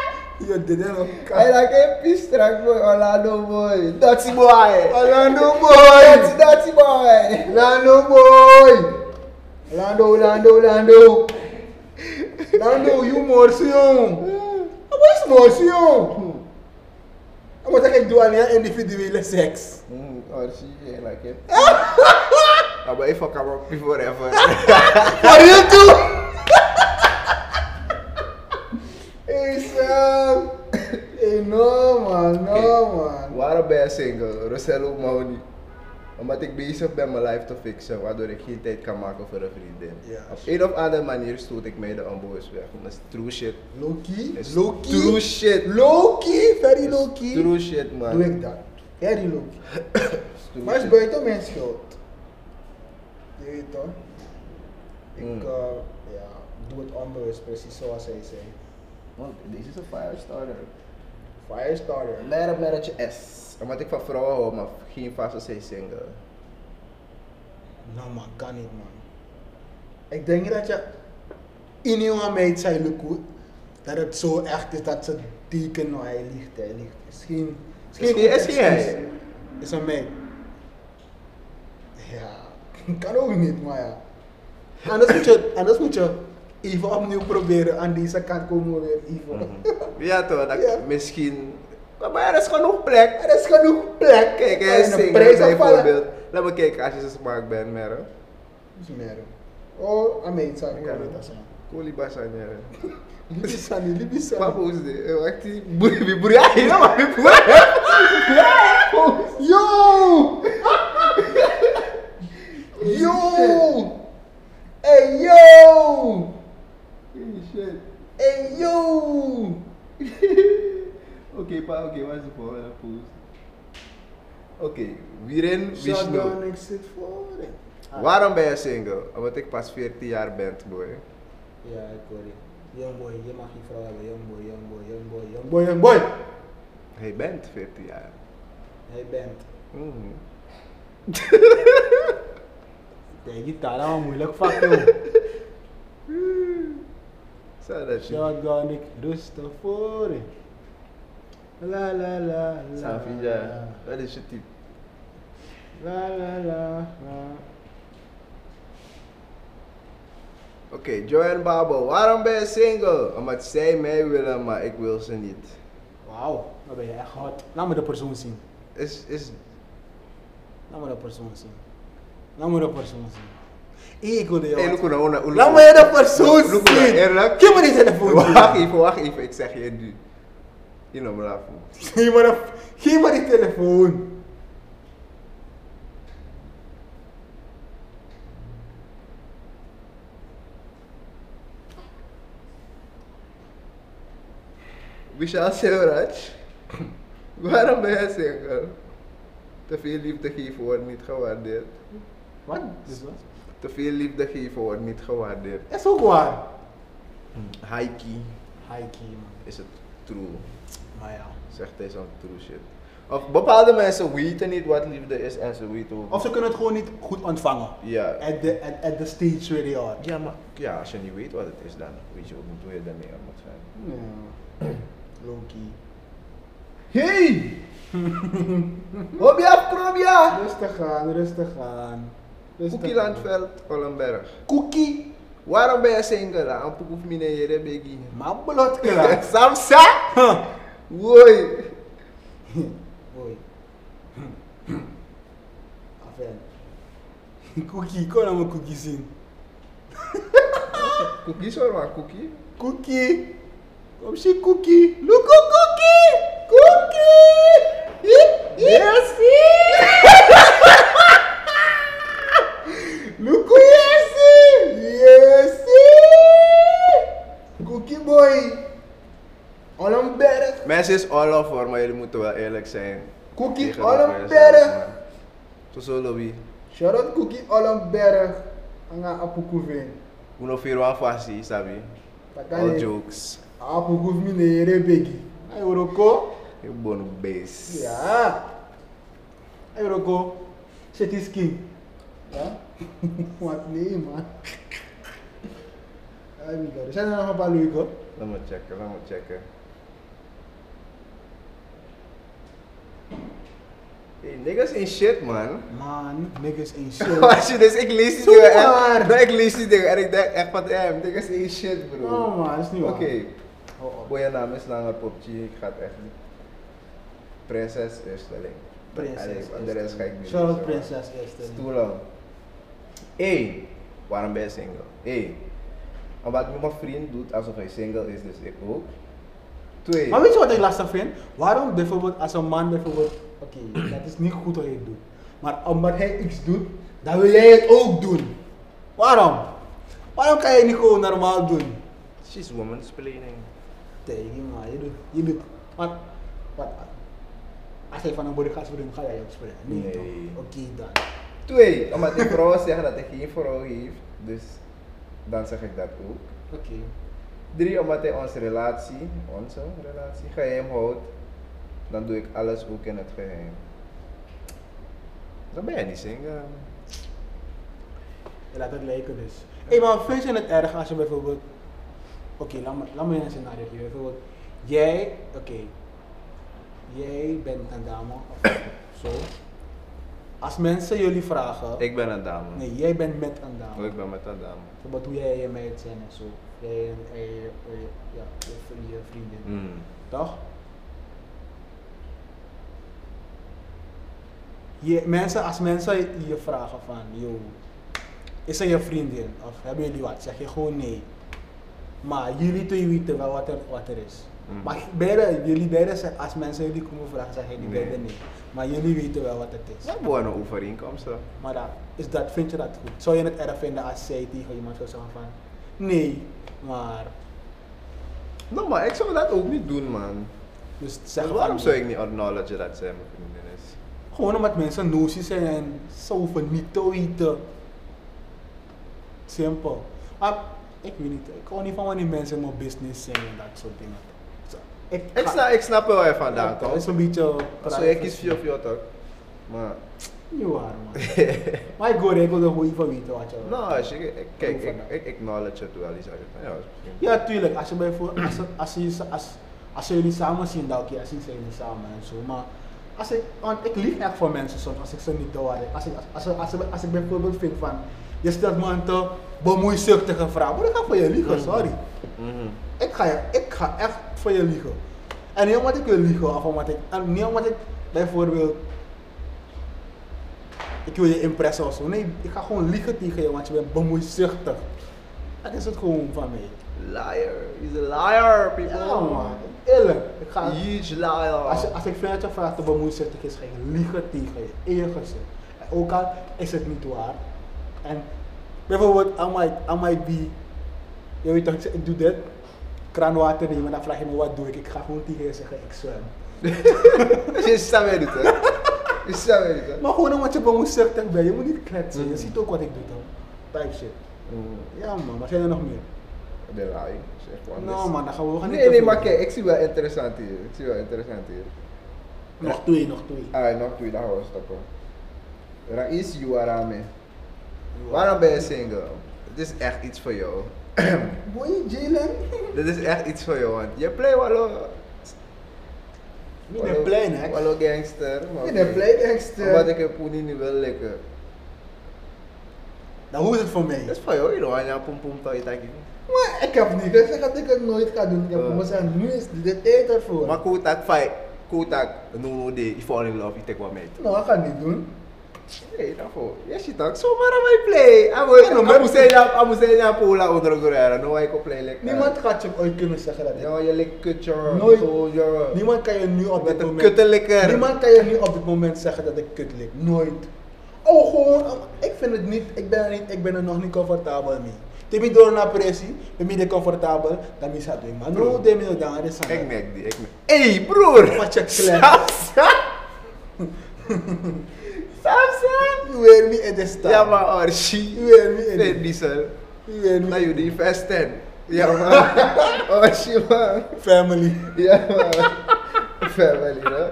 S2: Je deed het ook.
S1: Hij lijkt een pistrak boy, Orlando boy. Dirty boy!
S2: Orlando
S1: Dirty,
S2: boy!
S1: dirty boy!
S2: Orlando boy! Orlando, Orlando, Orlando! Orlando, you morsi jong! Wat is morsi jong? Omdat ik doe alleen individuele seks.
S1: Mm, oh, she ain't like it.
S2: Ah,
S1: Maar even kan op forever.
S2: What you do?
S1: Hey Sam!
S2: Hey, no man, no
S1: Oké.
S2: man.
S1: Waarom ben je single? Rosello Mahoney. Omdat ik bezig ben mijn life te fixen, waardoor ik geen tijd kan maken voor een vriendin.
S2: Ja.
S1: Op een of andere manier stoot ik mij de amboes weg. Dat is true shit.
S2: Loki,
S1: Dat is True
S2: Loki,
S1: shit.
S2: Loki, very
S1: Dat is
S2: Loki.
S1: True shit, man.
S2: Doe ik dat. Very Loki.
S1: Dat is true
S2: Maar het is
S1: shit.
S2: buiten mijn schuld. Je weet toch? Ik
S1: Mm.
S2: eh, ja, doe het onbewust, precies zoals hij zei.
S1: Want deze is een firestarter.
S2: Firestarter.
S1: Let op marriage S. Omdat ik van vrouwen hou, maar geen vaste zijn single.
S2: Nou man, kan niet man. Ik denk niet dat je in jonge meid zei Luku, dat het zo echt is dat ze teken, nou hij liegt, hij liegt. Misschien,
S1: Is geen- is geen
S2: excuus.
S1: hij.
S2: Is een meid. Ja, kan ook niet, maar ja. Anders moet je, anders moet je even opnieuw proberen. Aan deze kant komen we weer even.
S1: Ja toch, dat
S2: Ja.
S1: misschien... Maar er is genoeg plek.
S2: Er is genoeg plek.
S1: Kijk, hij
S2: En
S1: is
S2: de
S1: single
S2: prijs afvallen.
S1: bijvoorbeeld. Laat me kijken als je zo smaak bent, Merel.
S2: Dat is meer. Oh, aan meid zou ik
S1: Ja.
S2: kan niet dat zijn.
S1: Koliba zijn, Merel.
S2: Libisani,
S1: Wat
S2: Libisani.
S1: is dit? Eh, Wacht, die boer, die boer, ja, hier, maar die boer. Ja,
S2: Yo!
S1: shit.
S2: yo! Hey yo!
S1: Holy shit.
S2: Hey yo!
S1: Oké, pa, oké, wat is de volgende post? Oké, Wiren
S2: Shotgun
S1: Vishnu.
S2: exit voor.
S1: Waarom ben je single? Omdat ik pas 14 jaar ben, boy.
S2: Ja, ik hoor je. Young boy, je mag geen vrouw hebben. Young boy, young boy, young boy, young boy, young boy.
S1: Hij bent 14 jaar.
S2: Hij bent.
S1: Mhm.
S2: Tegen die tara, maar moeilijk vak joh.
S1: Zou dat je...
S2: Shotgun, ik rustig voor. La la la la.
S1: Savia, wat is je type?
S2: La la la la.
S1: Oké, Joanne Babel, waarom ben je single? Omdat zij mij willen, maar ik wil ze niet.
S2: Wauw, dan ben je echt é hot. Laat me de persoon zien.
S1: Is, is,
S2: Laat me de persoon zien. Laat me de persoon zien. Hé, Ik wil je
S1: Hey,
S2: wat-
S1: Luko, nou, nou, Luko.
S2: Laat me de persoon
S1: Luko, Luko, nou,
S2: zien.
S1: eerlijk.
S2: Geef me die telefoon.
S1: Wacht even, wacht even, ik zeg je nu. Je noemt me daarvoor.
S2: Geef me, de, geef me die telefoon.
S1: Vishal Silvraj, waarom ben je single? Te veel liefde geven wordt niet gewaardeerd.
S2: Wat? Dus wat?
S1: Te veel liefde geven wordt niet gewaardeerd.
S2: Dat is ook waar.
S1: Haiki
S2: Haikie man.
S1: is het true,
S2: Maar ja.
S1: zegt hij zo'n true shit. Of bepaalde mensen weten niet wat liefde is en ze weten ook
S2: Of ze kunnen het gewoon niet goed ontvangen.
S1: Ja.
S2: At the, at, at the stage where they are.
S1: Ja, maar ja, als je niet weet wat het is, dan weet je ook niet hoe je daarmee aan moet gaan.
S2: Ja. Loki.
S1: Hey! Hobby af, Krobia!
S2: Rustig aan, rustig aan. Rustig
S1: Koekie
S2: aan.
S1: Landveld, Kollenberg.
S2: Cookie.
S1: Waarom ben je single? Ampuku of mine jere begi.
S2: Maar blot klaar.
S1: Samsa? Woi.
S2: Oi. Afijn. Cookie, kom nou maar cookie zien.
S1: Cookie zo maar, cookie.
S2: Cookie. Kom zie cookie. Look hoe cookie. Cookie. Yes. Look hoe yes. Yes. Cookie boy. um Ollenberg.
S1: Mensen is all of hoor, maar jullie moeten wel eerlijk zijn.
S2: Cookie
S1: Tegen elkaar
S2: Ollenberg.
S1: zelf, man. Tot zo, Lobby.
S2: Shout out Cookie Ollenberg. Anga apukuvin.
S1: Uno firo afasi, sabi? All jokes.
S2: Apukuv mine rebegi. Ay oroko.
S1: Eu bono base.
S2: Yeah. Hey, Roko. Shit is king. Huh? What name, man? Ay, mi God. Siya na naman palo ko.
S1: Let me check, let me check. Hey, niggas ain't shit, man.
S2: Man, niggas ain't shit.
S1: Als je dus, ik lees die dingen
S2: Zomaar.
S1: en, nee, ik lees die dingen en ik denk echt van, eh, dit is één shit bro.
S2: No, man. It's new. Oh,
S1: Oké,
S2: Oo.
S1: boy, je naam is langer popje, ik ga het echt niet. Prinses Eersteling.
S2: Princess.
S1: Allee, want de rest ga ik niet
S2: Shout out
S1: lezen, man.
S2: Princess
S1: Het
S2: Esther.
S1: is too lang. Eén, waarom ben je single? Eén, omdat nu mijn vriend doet alsof hij single is, dus ik ook. Twee,
S2: Maar weet je wat ik lastig vind? Waarom bijvoorbeeld als een man bijvoorbeeld... Oké, dat is niet goed wat hij doet. Maar omdat hij iets doet, dan wil jij het ook doen. Waarom? Waarom kan je niet gewoon normaal doen?
S1: she's woman's planning.
S2: Tegen maar, je doet, je doet. Wat, wat? Als hij van een bode gaat springen, ga jij ook springen. Nee,
S1: Nee.
S2: toch? Oké dan.
S1: Twee, omdat die vrouwen zeggen dat hij geen vrouw heeft, dus dan zeg ik dat ook.
S2: Oké.
S1: Drie, omdat hij onze relatie, onze relatie, geheim houdt, dan doe ik alles ook in het geheim. Dan ben je niet single.
S2: Je laat het lijken dus. Hé, hey, maar vind je het erg als je bijvoorbeeld... Oké, laat, me- laat me je een scenario geven. Bijvoorbeeld, jij... Oké. Jij bent een dame of zo. Als mensen jullie vragen...
S1: Ik ben een dame.
S2: Nee, jij bent met een
S1: Oh,
S2: dame.
S1: Ik ben met een dame.
S2: Bijvoorbeeld hoe jij en je meid zijn en zo. Jij en en je, en je, ja, je, vri- je vriendin.
S1: Hmm.
S2: Toch? Je, mensen, als mensen je vragen van, yo, is ze je vriendin? Of hebben jullie wat? Zeg je gewoon nee. Maar jullie twee weten wel wat er, wat er is.
S1: Mm.
S2: Maar beide, jullie beiden, zeggen- als mensen jullie komen vragen, zeggen jullie
S1: Nee.
S2: beiden nee. Maar jullie weten wel wat het is.
S1: Dat worden overeenkomsten.
S2: Maar dat, is dat, vind je dat goed? Zou je het erg vinden als zij tegen iemand zou zeggen van, nee, maar...
S1: Nou, maar ik zou dat ook niet doen, man.
S2: Dus zeg
S1: Dus
S2: van
S1: waarom
S2: nee.
S1: zou ik niet acknowledge dat zij mijn vriendin is?
S2: Gewoon omdat mensen nozies zijn en zo niet te weten. Simpel. Maar ik weet niet, ik hou niet van wanneer mensen in mijn business zijn en dat soort dingen. Zo,
S1: Ik snap, ik snap wel waar je vandaan
S2: dat is
S1: komt.
S2: een beetje...
S1: Zo, ik kies voor jou toch? Maar,
S2: You are, man. maar ik hoor, ik wil er gewoon even weten wat je wil.
S1: nou, als je- ik- kijk,
S2: Doe
S1: ik,
S2: vandaag.
S1: ik acknowledge het wel. Die zeggen van, ja, is misschien-
S2: Ja, tuurlijk. Als, je bijvoorbeeld, als, als, je- als, als jullie samen zien, dan oké, als zien ze jullie samen en zo. Maar als ik, want ik lief echt voor mensen soms als ik ze niet doorhad. Als ik, als, als, als, als ik bijvoorbeeld vind van, je stelt me een te bemoeizuchtige vraag. Maar ik ga voor je liegen,
S1: Mhm.
S2: sorry.
S1: Mhm.
S2: Ik ga, je- ik ga echt voor je liegen. En niet omdat ik wil liegen of omdat ik, en niet omdat ik bijvoorbeeld, ik wil je impressen of zo. Nee, ik ga gewoon liegen tegen je, want je bent bemoeizuchtig. Dat is het gewoon van mij.
S1: Liar. He's a liar, people.
S2: Ja man, eerlijk. Ik ga,
S1: Huge liar.
S2: als, je- als ik vind dat je vraagt te bemoeizuchtig is, ga ik liegen tegen je, in je gezicht. En ook al is het niet waar. En bijvoorbeeld, I might, I might be, je weet toch, ik zeg, ik doe dit, kraanwater nemen, dan vraag je me wat doe ik. Ik ga gewoon tegen je zeggen, ik zwem.
S1: Je staat weer dit, hè? Je staat weer dit, hè?
S2: Maar gewoon omdat je bemoeizuchtig bent, je moet niet kletsen. Je
S1: Mhm.
S2: ziet ook wat ik doe dan. Type shit.
S1: Mm.
S2: Ja man, wat zijn er nog meer?
S1: De lying. Zeg gewoon.
S2: Nou man, dan gaan we, we gaan niet
S1: Nee,
S2: te
S1: nee,
S2: veel.
S1: maar kijk, ik zie wel interessant hier. Ik zie wel interessant hier.
S2: Nog twee, nog twee.
S1: Ah, nog twee, daar gaan we stoppen. Raiz Juarame. Waarom ben je single? Dit is echt iets voor jou.
S2: Boy, Jalen.
S1: Dit is echt iets voor jou, want je play wel hoor.
S2: Niet de plein, hè?
S1: Hallo gangster. maar
S2: Niet de
S1: oké.
S2: plein, gangster.
S1: Omdat ik een poenie niet wil likken.
S2: Nou, hoe is het voor mij?
S1: Dat is van jou, joh. En ja, pom pom, taai, taai.
S2: Maar ik heb niet gezegd dat ik het nooit ga doen. Ik heb
S1: Eh.
S2: gewoon gezegd, nu is de tijd ervoor.
S1: Maar kotak, fight. Kotak, no no day. You fall in love, you take one mate.
S2: Nou, ik ga het niet doen.
S1: Nee, daarvoor. Yes, je tak. Zomaar aan mij play. Amu zijn amu zijn aan Pola onder Gorera. No, ik op play lekker.
S2: Niemand gaat je ooit kunnen zeggen dat ik...
S1: Ja, je lijkt kut, jongen.
S2: Nooit.
S1: Zo, jongen.
S2: Niemand kan je nu op
S1: Met
S2: dit
S1: een
S2: moment...
S1: kuttelikker.
S2: Niemand kan je nu op dit moment zeggen dat ik kut lik. Nooit. Oh, gewoon. oh, Ik vind het niet. Ik ben er, niet, ik ben er nog niet comfortabel mee. Timmy door naar pressie. Ben je niet comfortabel? Dan is dat ding. Maar nu
S1: Bro.
S2: deed me dan aan de zaak.
S1: Ik merk die, ik merk. Hey, broer!
S2: Wat je klem.
S1: Samsa! Samsa!
S2: You wear me in the star.
S1: Ja, maar Archie.
S2: You wear me in
S1: Nee,
S2: the
S1: diesel.
S2: You wear
S1: Nou,
S2: me in
S1: jullie vesten. Ja, man. Archie, man.
S2: the family.
S1: Ja, man. Family, hè?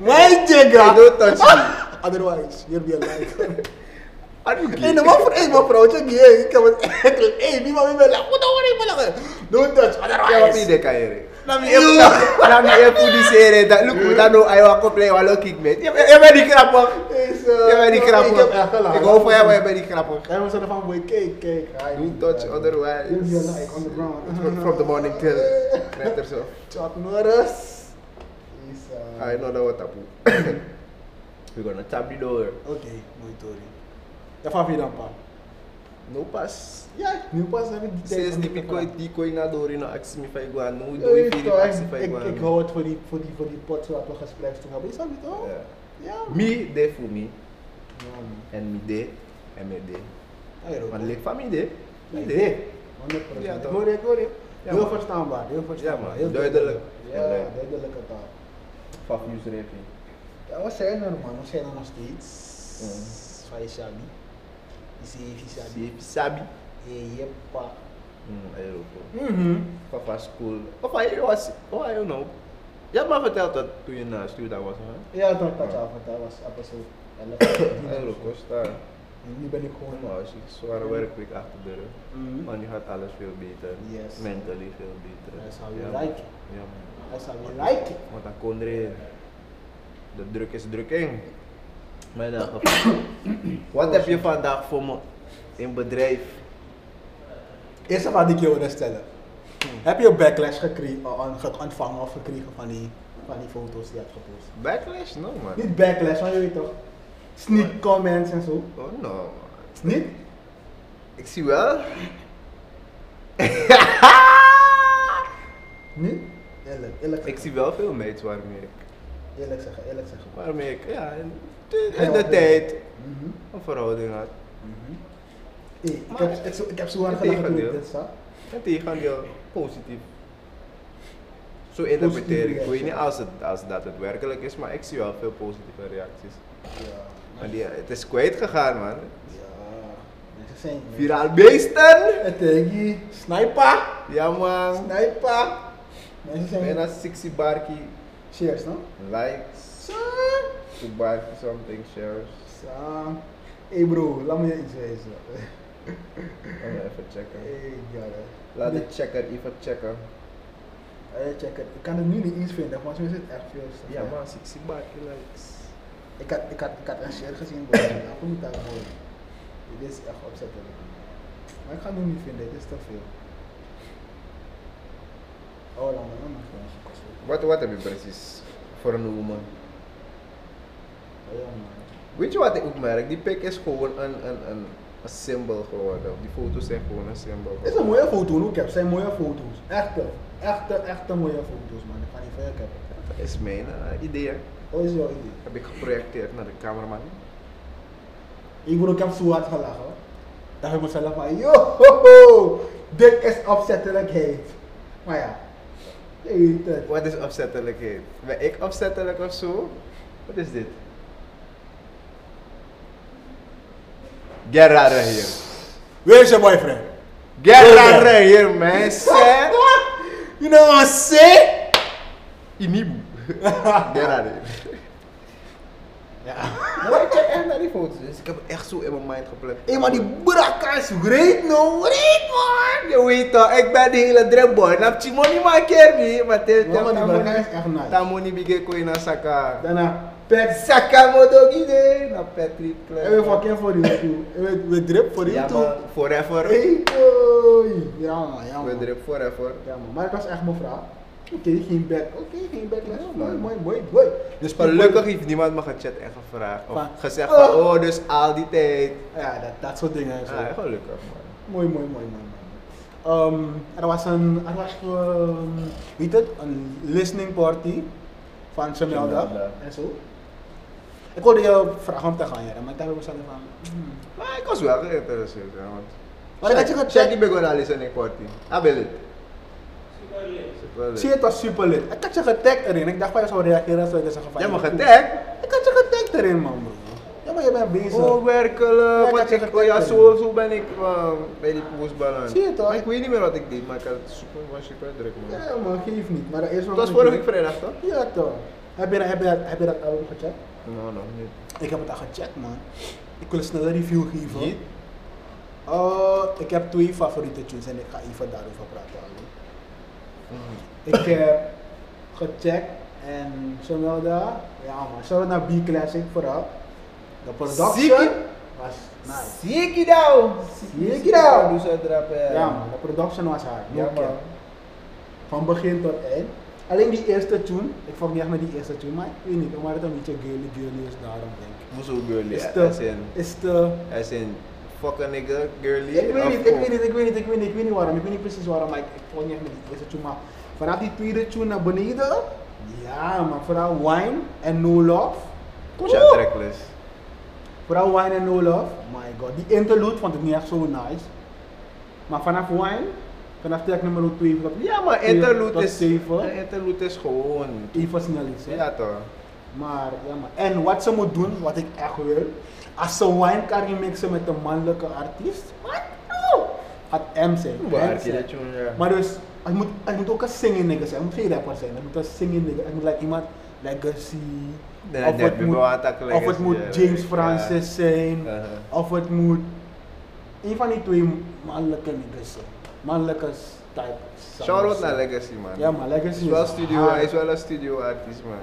S2: My
S1: Hey,
S2: jigger.
S1: don't touch me.
S2: Otherwise, you'll be alive.
S1: Are you
S2: Hé,
S1: gay?
S2: nou, wat voor een man vrouwtje? Gay. Ik heb het echt. Hé, wie man wil lachen? Wat hoor ik maar lachen? Don't touch.
S1: Ja, wat ben
S2: Otherwise.
S1: je kajere? Laat me even die serie. dat- Look, we gaan nu aan jou koppelen, we gaan kick met. Je bent die grappig.
S2: Is, eh,
S1: Je bent die
S2: ik
S1: grappig.
S2: heb echt gelachen.
S1: Ik hou van jou, maar je bent die grappig.
S2: Hij was ervan, boy, kijk, kijk. hij-
S1: Don't touch otherwise.
S2: uh, You'll be alive on the ground.
S1: From the morning till night or so.
S2: Chuck Norris. Is, uh,
S1: I know that what tapu. We're gonna tap the door.
S2: Oké, mooi Tori. Dat van wie dan, pa?
S1: No pass.
S2: Ja, nu pas heb ik die tijd.
S1: Sinds
S2: om
S1: die
S2: te
S1: pico
S2: praten.
S1: die koi na door in actie me fai guan. No,
S2: Ja,
S1: doe
S2: je
S1: ik
S2: weet
S1: die
S2: toch,
S1: actie
S2: Ik
S1: fai
S2: ik- ik
S1: guan.
S2: hou het voor die, voor die, voor die pot zodat we gesprekstuk hebben. Is dat niet toch? Ja. Ja, man.
S1: Me de voor me
S2: Ja, man.
S1: en me de en me de.
S2: Hey, Rob.
S1: Want lek van me de. Me
S2: Like
S1: de.
S2: 100%.
S1: Ja,
S2: Ik
S1: toch?
S2: hoor je, ik hoor je.
S1: Ja,
S2: Heel
S1: man.
S2: verstaanbaar, heel verstaanbaar.
S1: man.
S2: heel
S1: Duidelijk.
S2: Ja,
S1: Ja.
S2: duidelijke taal.
S1: Fuck you, Zrepi.
S2: Ja, we zijn er man, we zijn er nog steeds.
S1: Mm.
S2: Van je Shabi. Je ziet je Shabi.
S1: Sabi. Sabi.
S2: Hey, je pa.
S1: Hmm, I don't know.
S2: Mhm.
S1: Papa school. Of I was, oh I don't know. Je hebt me verteld dat toen je naar stuur daar was, hè?
S2: Ja, dat had je al verteld, was episode
S1: I
S2: 11.
S1: don't know, Costa. Oh,
S2: En nu ben ik gewoon
S1: Maar als je zware werk ik achter de rug.
S2: Mhm.
S1: Maar nu gaat alles veel beter.
S2: Yes.
S1: Mentally veel beter.
S2: That's how you
S1: man.
S2: like it.
S1: Ja, man.
S2: That's how you like it.
S1: Want dat kon erin. De druk is drukking. Maar in elk geval. Wat heb je vandaag voor me in bedrijf?
S2: Eerst wat ik je wilde stellen. Heb je backlash gekregen, ontvangen of gekregen van die, van die foto's die je hebt gepost?
S1: Backlash? No, man.
S2: Niet backlash, maar je weet toch. Sneak comments en zo.
S1: Oh, no, man.
S2: Niet?
S1: Ik zie wel.
S2: Niet? Eerlijk, eerlijk
S1: Ik
S2: zeggen.
S1: zie wel veel mates waarmee ik.
S2: Eerlijk zeggen, eerlijk zeggen.
S1: Waarmee ik, ja, in, in de tijd
S2: Mhm.
S1: een verhouding had.
S2: Hey, ik,
S1: Maar-
S2: heb, ik, zo, ik heb zo hard
S1: Het
S2: gelachen toen ik
S1: tegendeel.
S2: dit zag.
S1: En tegendeel, positief. Zo interpreteer ik. Ik weet niet als, het, als dat het werkelijk is, maar ik zie wel veel positieve reacties.
S2: Ja.
S1: Maar die, het is kwijtgegaan, man.
S2: Ja. Mensen zijn...
S1: Viraal beesten!
S2: Het tegen Sniper!
S1: Ja, man.
S2: Sniper! Mensen zijn...
S1: Bijna 60 barkie
S2: Cheers, no?
S1: likes,
S2: Zo.
S1: 2 barkie something shares.
S2: Zo. Hey eh, bro, laat me je iets wijzen. Eh,
S1: Laten we even checken.
S2: Hey, god.
S1: Laat de checker even checken.
S2: Hey, eh, check het. Ik kan het nu niet eens vinden, want soms is het echt veel. stuff,
S1: Ja,
S2: hè.
S1: man, 60 barkie likes.
S2: Ik had, ik had, ik had een share gezien, bro. Ik moet daar gewoon. Dit is echt opzettelijk. Maar ik ga het nu niet vinden, dit is te veel. Oh, laat me nog maar gewoon zoeken. zo.
S1: Wat, wat heb je precies voor een woman?
S2: Oh ja, man.
S1: Weet je wat ik ook merk? Die pik is gewoon een, een, een, een symbool geworden. Die foto's zijn gewoon een symbool
S2: Het is een mooie foto, hoor. ik heb zijn mooie foto's. Echte, echte, echte mooie foto's, man. Ik ga niet verder kijken.
S1: Dat is mijn eh, idee. hè.
S2: Wat is jouw idee?
S1: Heb ik geprojecteerd naar de cameraman.
S2: Ik bedoel, ik heb zo hard gelachen. Dat ik mezelf van, yo, ho, ho, dit is opzettelijkheid. Maar ja, je weet het.
S1: Wat is opzettelijkheid? Ben ik opzettelijk of zo? Wat is dit? Get out of here.
S2: Where's your boyfriend?
S1: Get
S2: Go
S1: out of
S2: there.
S1: here, man. Sam.
S2: you know what I'm saying?
S1: Inibu. Get out of here.
S2: Ja.
S1: Maar ik check echt naar die foto's. Dus ik heb het echt zo in mijn mind gepland.
S2: Hé, maar die brakka is great, no?
S1: Riet man! Je weet toch, ik ben de hele dripboy. Nap Chimoni maar keer niet. Maar dit
S2: Ja, maar die brakka is echt nice.
S1: Tamoni bige koi na saka.
S2: Daarna, pet.
S1: Saka modogi de. Na Patrick
S2: Ik
S1: Klein.
S2: wil fucking voor die toe. Ik wil- E We drip voor die
S1: Ja
S2: toe.
S1: man, forever.
S2: Hey, boy. Ja, man, ja,
S1: We
S2: man.
S1: drip forever.
S2: Ja, man. Maar ik was echt mijn vraag. Oké, geen back. Oké, geen back.
S1: Ja,
S2: Mooi,
S1: man.
S2: mooi, mooi, mooi.
S1: Dus
S2: Dus
S1: gelukkig heeft niemand me gechat en gevraagd. Of
S2: Van,
S1: gezegd van,
S2: oh.
S1: oh dus al die tijd.
S2: Ja, dat, dat soort dingen. en zo.
S1: Ah, gelukkig man.
S2: Mooi, mooi, mooi, mooi. mooi. Ehm, er was een, er was, ehm, weet het, een listening party van Semelda
S1: Jamelda.
S2: en zo. Ik wilde je vragen om te gaan, ja, maar ik dacht ook zelf van, hmm.
S1: Maar ik was wel geïnteresseerd. ja, Want...
S2: Maar ik had je gecheckt.
S1: check die begon al eens in een kwartier. Ah, ben je?
S2: Zie, het was super lit. Ik had je getagd erin. Ik dacht van je zou reageren zoals je zegt van.
S1: Jij mag
S2: "Yo, cool."
S1: getagd?
S2: Ik had je getagd erin, man, bro. Ja, maar je bent bezig.
S1: Oh,
S2: Ja,
S1: werkelijk.
S2: ik
S1: Want
S2: had je
S1: ik, oh ja,
S2: getagd
S1: zo, zo ben ik eh, bij die poesballen.
S2: Zie je toch?
S1: Maar ik weet niet meer wat ik deed, maar ik had super, was super druk man.
S2: Ja, man, geef niet. Maar dat is
S1: Het
S2: wel
S1: was
S2: goed,
S1: vorige
S2: hè?
S1: week vrijdag toch?
S2: Ja, toch. Heb je, dat- heb je, dat- heb je dat album gecheckt?
S1: No, Nou, nog niet.
S2: Ik heb het al gecheckt, man. Ik wil een snelle review geven.
S1: Niet?
S2: Oh, ik heb twee favoriete tunes en ik ga even daarover praten. Ali. Ik heb gecheckt en Sonelda, ja man, shout naar B-Classic vooral. De production
S1: Ziek.
S2: was nice.
S1: Zie ik je nou?
S2: Zie ik je nou?
S1: Dus uit rappen.
S2: Ja man, de production was hard. no
S1: Ja man.
S2: cap. Van begin tot eind. Alleen die eerste tune, ik vond niet echt naar die eerste tune, maar ik weet niet, omdat het een beetje girly girly is, daarom denk ik.
S1: Moest ook girly.
S2: Is
S1: As
S2: te,
S1: in,
S2: is te
S1: as in, fuck a nigga, girly.
S2: Ik weet
S1: of
S2: niet, ik
S1: hoe?
S2: weet niet, ik weet niet, ik weet niet, ik weet niet waarom. Ik weet niet precies waarom, maar ik, ik vond niet echt met die eerste tune. Maar vanaf die tweede tune naar beneden, ja man, vooral Wine en No Love.
S1: Kom je
S2: Oeh.
S1: tracklist.
S2: Vooral Wine en No Love, my god. Die interlude vond ik niet echt zo nice. Maar vanaf Wine, vanaf track nummer 2,
S1: Ja, maar
S2: Dat
S1: interlude is,
S2: zeven.
S1: een interlude is gewoon.
S2: even snel iets. hè.
S1: Ja toch?
S2: Maar ja man. En wat ze moet doen, wat ik echt wil, als ze Wine kan remixen met een mannelijke artiest, wat? Oh, had M zijn.
S1: Hoe
S2: M
S1: waard je
S2: zijn.
S1: dat jongen? ja.
S2: Maar dus, het moet, het moet ook een singing nigga zijn. Het moet geen rapper zijn. Het moet een singing nigga Het moet like iemand Legacy.
S1: Nee, nee, we bewaarden dat
S2: of het
S1: Legacy,
S2: moet
S1: ja,
S2: James
S1: ja.
S2: Francis zijn.
S1: Uh-huh.
S2: Of het moet een van die twee mannelijke niggas zijn. Mannelijke type. zangers
S1: Shout-out
S2: zijn.
S1: naar Legacy, man.
S2: Ja, maar Legacy
S1: Hij is wel
S2: is
S1: studio,
S2: hard.
S1: hij is wel een studio artiest, man.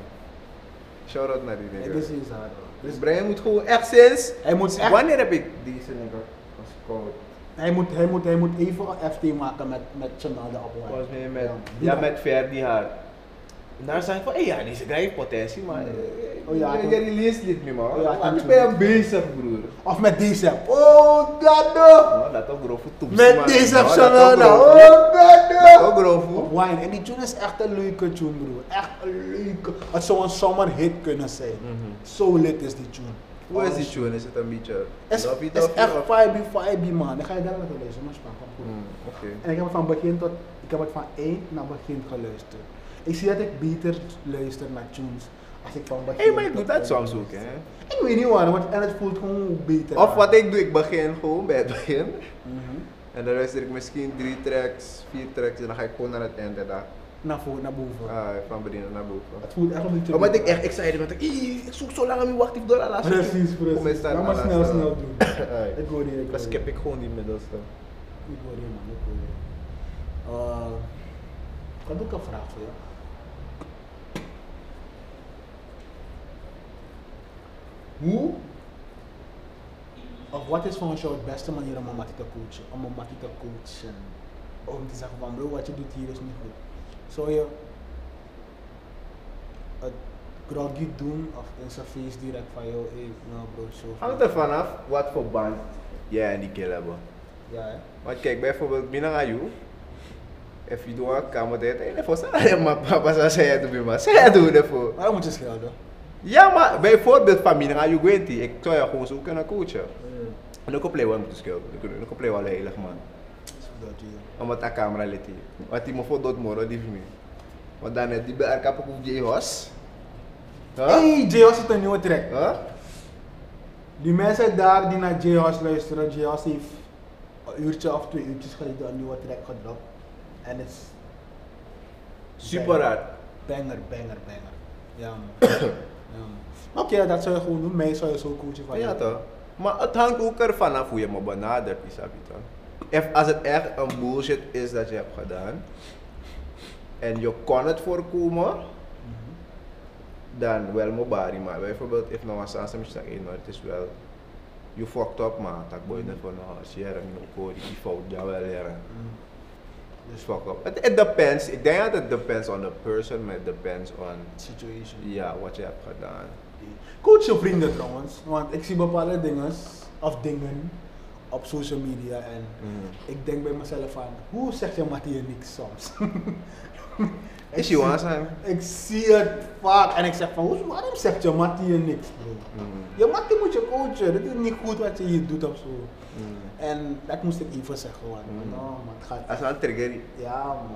S1: Shout-out naar die nigga.
S2: Legacy is hard. bro.
S1: Dus
S2: Dus
S1: Brian moet gewoon echt sinds...
S2: hij moet echt,
S1: Wanneer heb ik deze nigga gescoord?
S2: hij moet, hij moet, hij moet even een FT maken met, met Chanel de Appel.
S1: Volgens mij met... Ja,
S2: Ja.
S1: met Verdi haar. En daar zei ik van, hé ja, deze guy heeft potentie, man.
S2: Oh ja,
S1: Je
S2: ik-
S1: release liet me, man.
S2: Oh ja, ik
S1: Maar
S2: kan
S1: ik ben
S2: doen.
S1: bezig, broer.
S2: Of met deze. Oh, god no!
S1: Man, dat toch grove toeps,
S2: Met
S1: man.
S2: deze
S1: Man, dat toch
S2: Chanel de
S1: grove.
S2: Oh, god
S1: Dat
S2: no!
S1: toch grove.
S2: Op Wine. En die tune is echt een leuke tune, bro. Echt een leuke. Het zou een zomerhit kunnen zijn.
S1: Mhm.
S2: Zo lit is die tune.
S1: Hoe is
S2: Oh,
S1: die tune? Is het een beetje...
S2: Het is,
S1: Love it
S2: is
S1: up,
S2: echt
S1: love-
S2: vibe, vibe, man. Dan ga je daar naar luisteren, maar span, kom goed.
S1: Hmm, Oké.
S2: En ik heb het van begin tot, ik heb het van eind naar begin geluisterd. Ik zie dat ik beter luister naar tunes als ik van begin.
S1: Hé, maar ik
S2: tot
S1: doe dat
S2: eind
S1: soms ook,
S2: luister.
S1: hè.
S2: Ik weet niet waarom, want- en het voelt gewoon beter.
S1: Of wat
S2: aan.
S1: ik doe, ik begin gewoon bij het begin.
S2: Mhm.
S1: En dan luister ik misschien drie tracks, vier tracks en dan ga ik gewoon naar het einde daar.
S2: Naar voren, naar boven.
S1: Ah, van beneden naar boven.
S2: Het voelt echt een beetje.
S1: Omdat Oh, ik echt excited ben, denk ik, "Ih, ik zoek zo lang aan die wacht, ik door al laatste.
S2: Precies,
S1: Kom eens
S2: precies.
S1: staan,
S2: Laat maar
S1: Allah,
S2: snel,
S1: staan.
S2: snel doen.
S1: Ai.
S2: Ik hoor je, ik
S1: Dan
S2: hoor je.
S1: skip ik gewoon die middelste.
S2: Ik hoor je, man. Ik hoor je. Eh, ik had ook een vraag voor jou. Hoe of wat is volgens jou de beste manier om een mattie te coachen? Om een mattie te coachen. Om te zeggen van bro, wat je doet hier is niet goed. Zou je het groggy doen of in zijn face direct van jou, hey, nou bro, zo.
S1: Hangt er vanaf wat voor band jij en die kill hebben.
S2: Ja, hè?
S1: Want kijk, bijvoorbeeld binnen aan jou. If you don't want kamer tijd, en daarvoor zijn maar papa zou zeggen het maar zij doen ervoor.
S2: Waarom moet je schelden?
S1: Ja, maar bijvoorbeeld van binnen aan jou weet die, ik zou je gewoon zo kunnen coachen. En ook op Leeuwen moeten schilderen, ook op Leeuwen heilig man.
S2: Dat je.
S1: Omdat a camera leti. Wat die me voor dood moro die vmi. Want dan net die bij elkaar op je hos. Huh?
S2: Hey, J-House heeft een nieuwe track.
S1: Huh?
S2: Die mensen daar die naar J-House luisteren, J-House heeft een uurtje of twee uurtjes geleden een nieuwe track gedropt. En het is
S1: Super hard.
S2: banger, banger, banger. Ja man. Maar oké, dat zou je gewoon doen. Mij zou je zo'n koeltje van
S1: Ja toch? Maar het hangt ook ervan af hoe je me benadert, Isabi toch? If- Als het echt een bullshit is dat je hebt gedaan en je kon het voorkomen,
S2: Mhm,
S1: dan wel mijn bari. Maar bijvoorbeeld, if nou een sansem is dat één, maar het is wel, je fucked up maar dat boy dat van nou, als je er een koor die fout ja wel leren.
S2: mhm.
S1: Dus fuck up. It, it depends. Ik denk dat het depends on the person, maar it depends on
S2: Situation.
S1: ja, wat je hebt gedaan.
S2: Coach je vrienden trouwens, want ik zie bepaalde dingen of dingen op social media en ik denk bij mezelf van, hoe zegt je Mathieu niks soms? Ik
S1: Is
S2: zie-
S1: je aan
S2: Ik zie het vaak en ik zeg van, hoe- waarom zegt je Mathieu niks bro? Je Mathieu moet je coachen, dit is niet goed wat je hier doet of zo.
S1: Mm-hmm.
S2: En dat moest ik even zeggen, want
S1: Mm.
S2: no, man, het gaat
S1: Als een trigger.
S2: Ja man,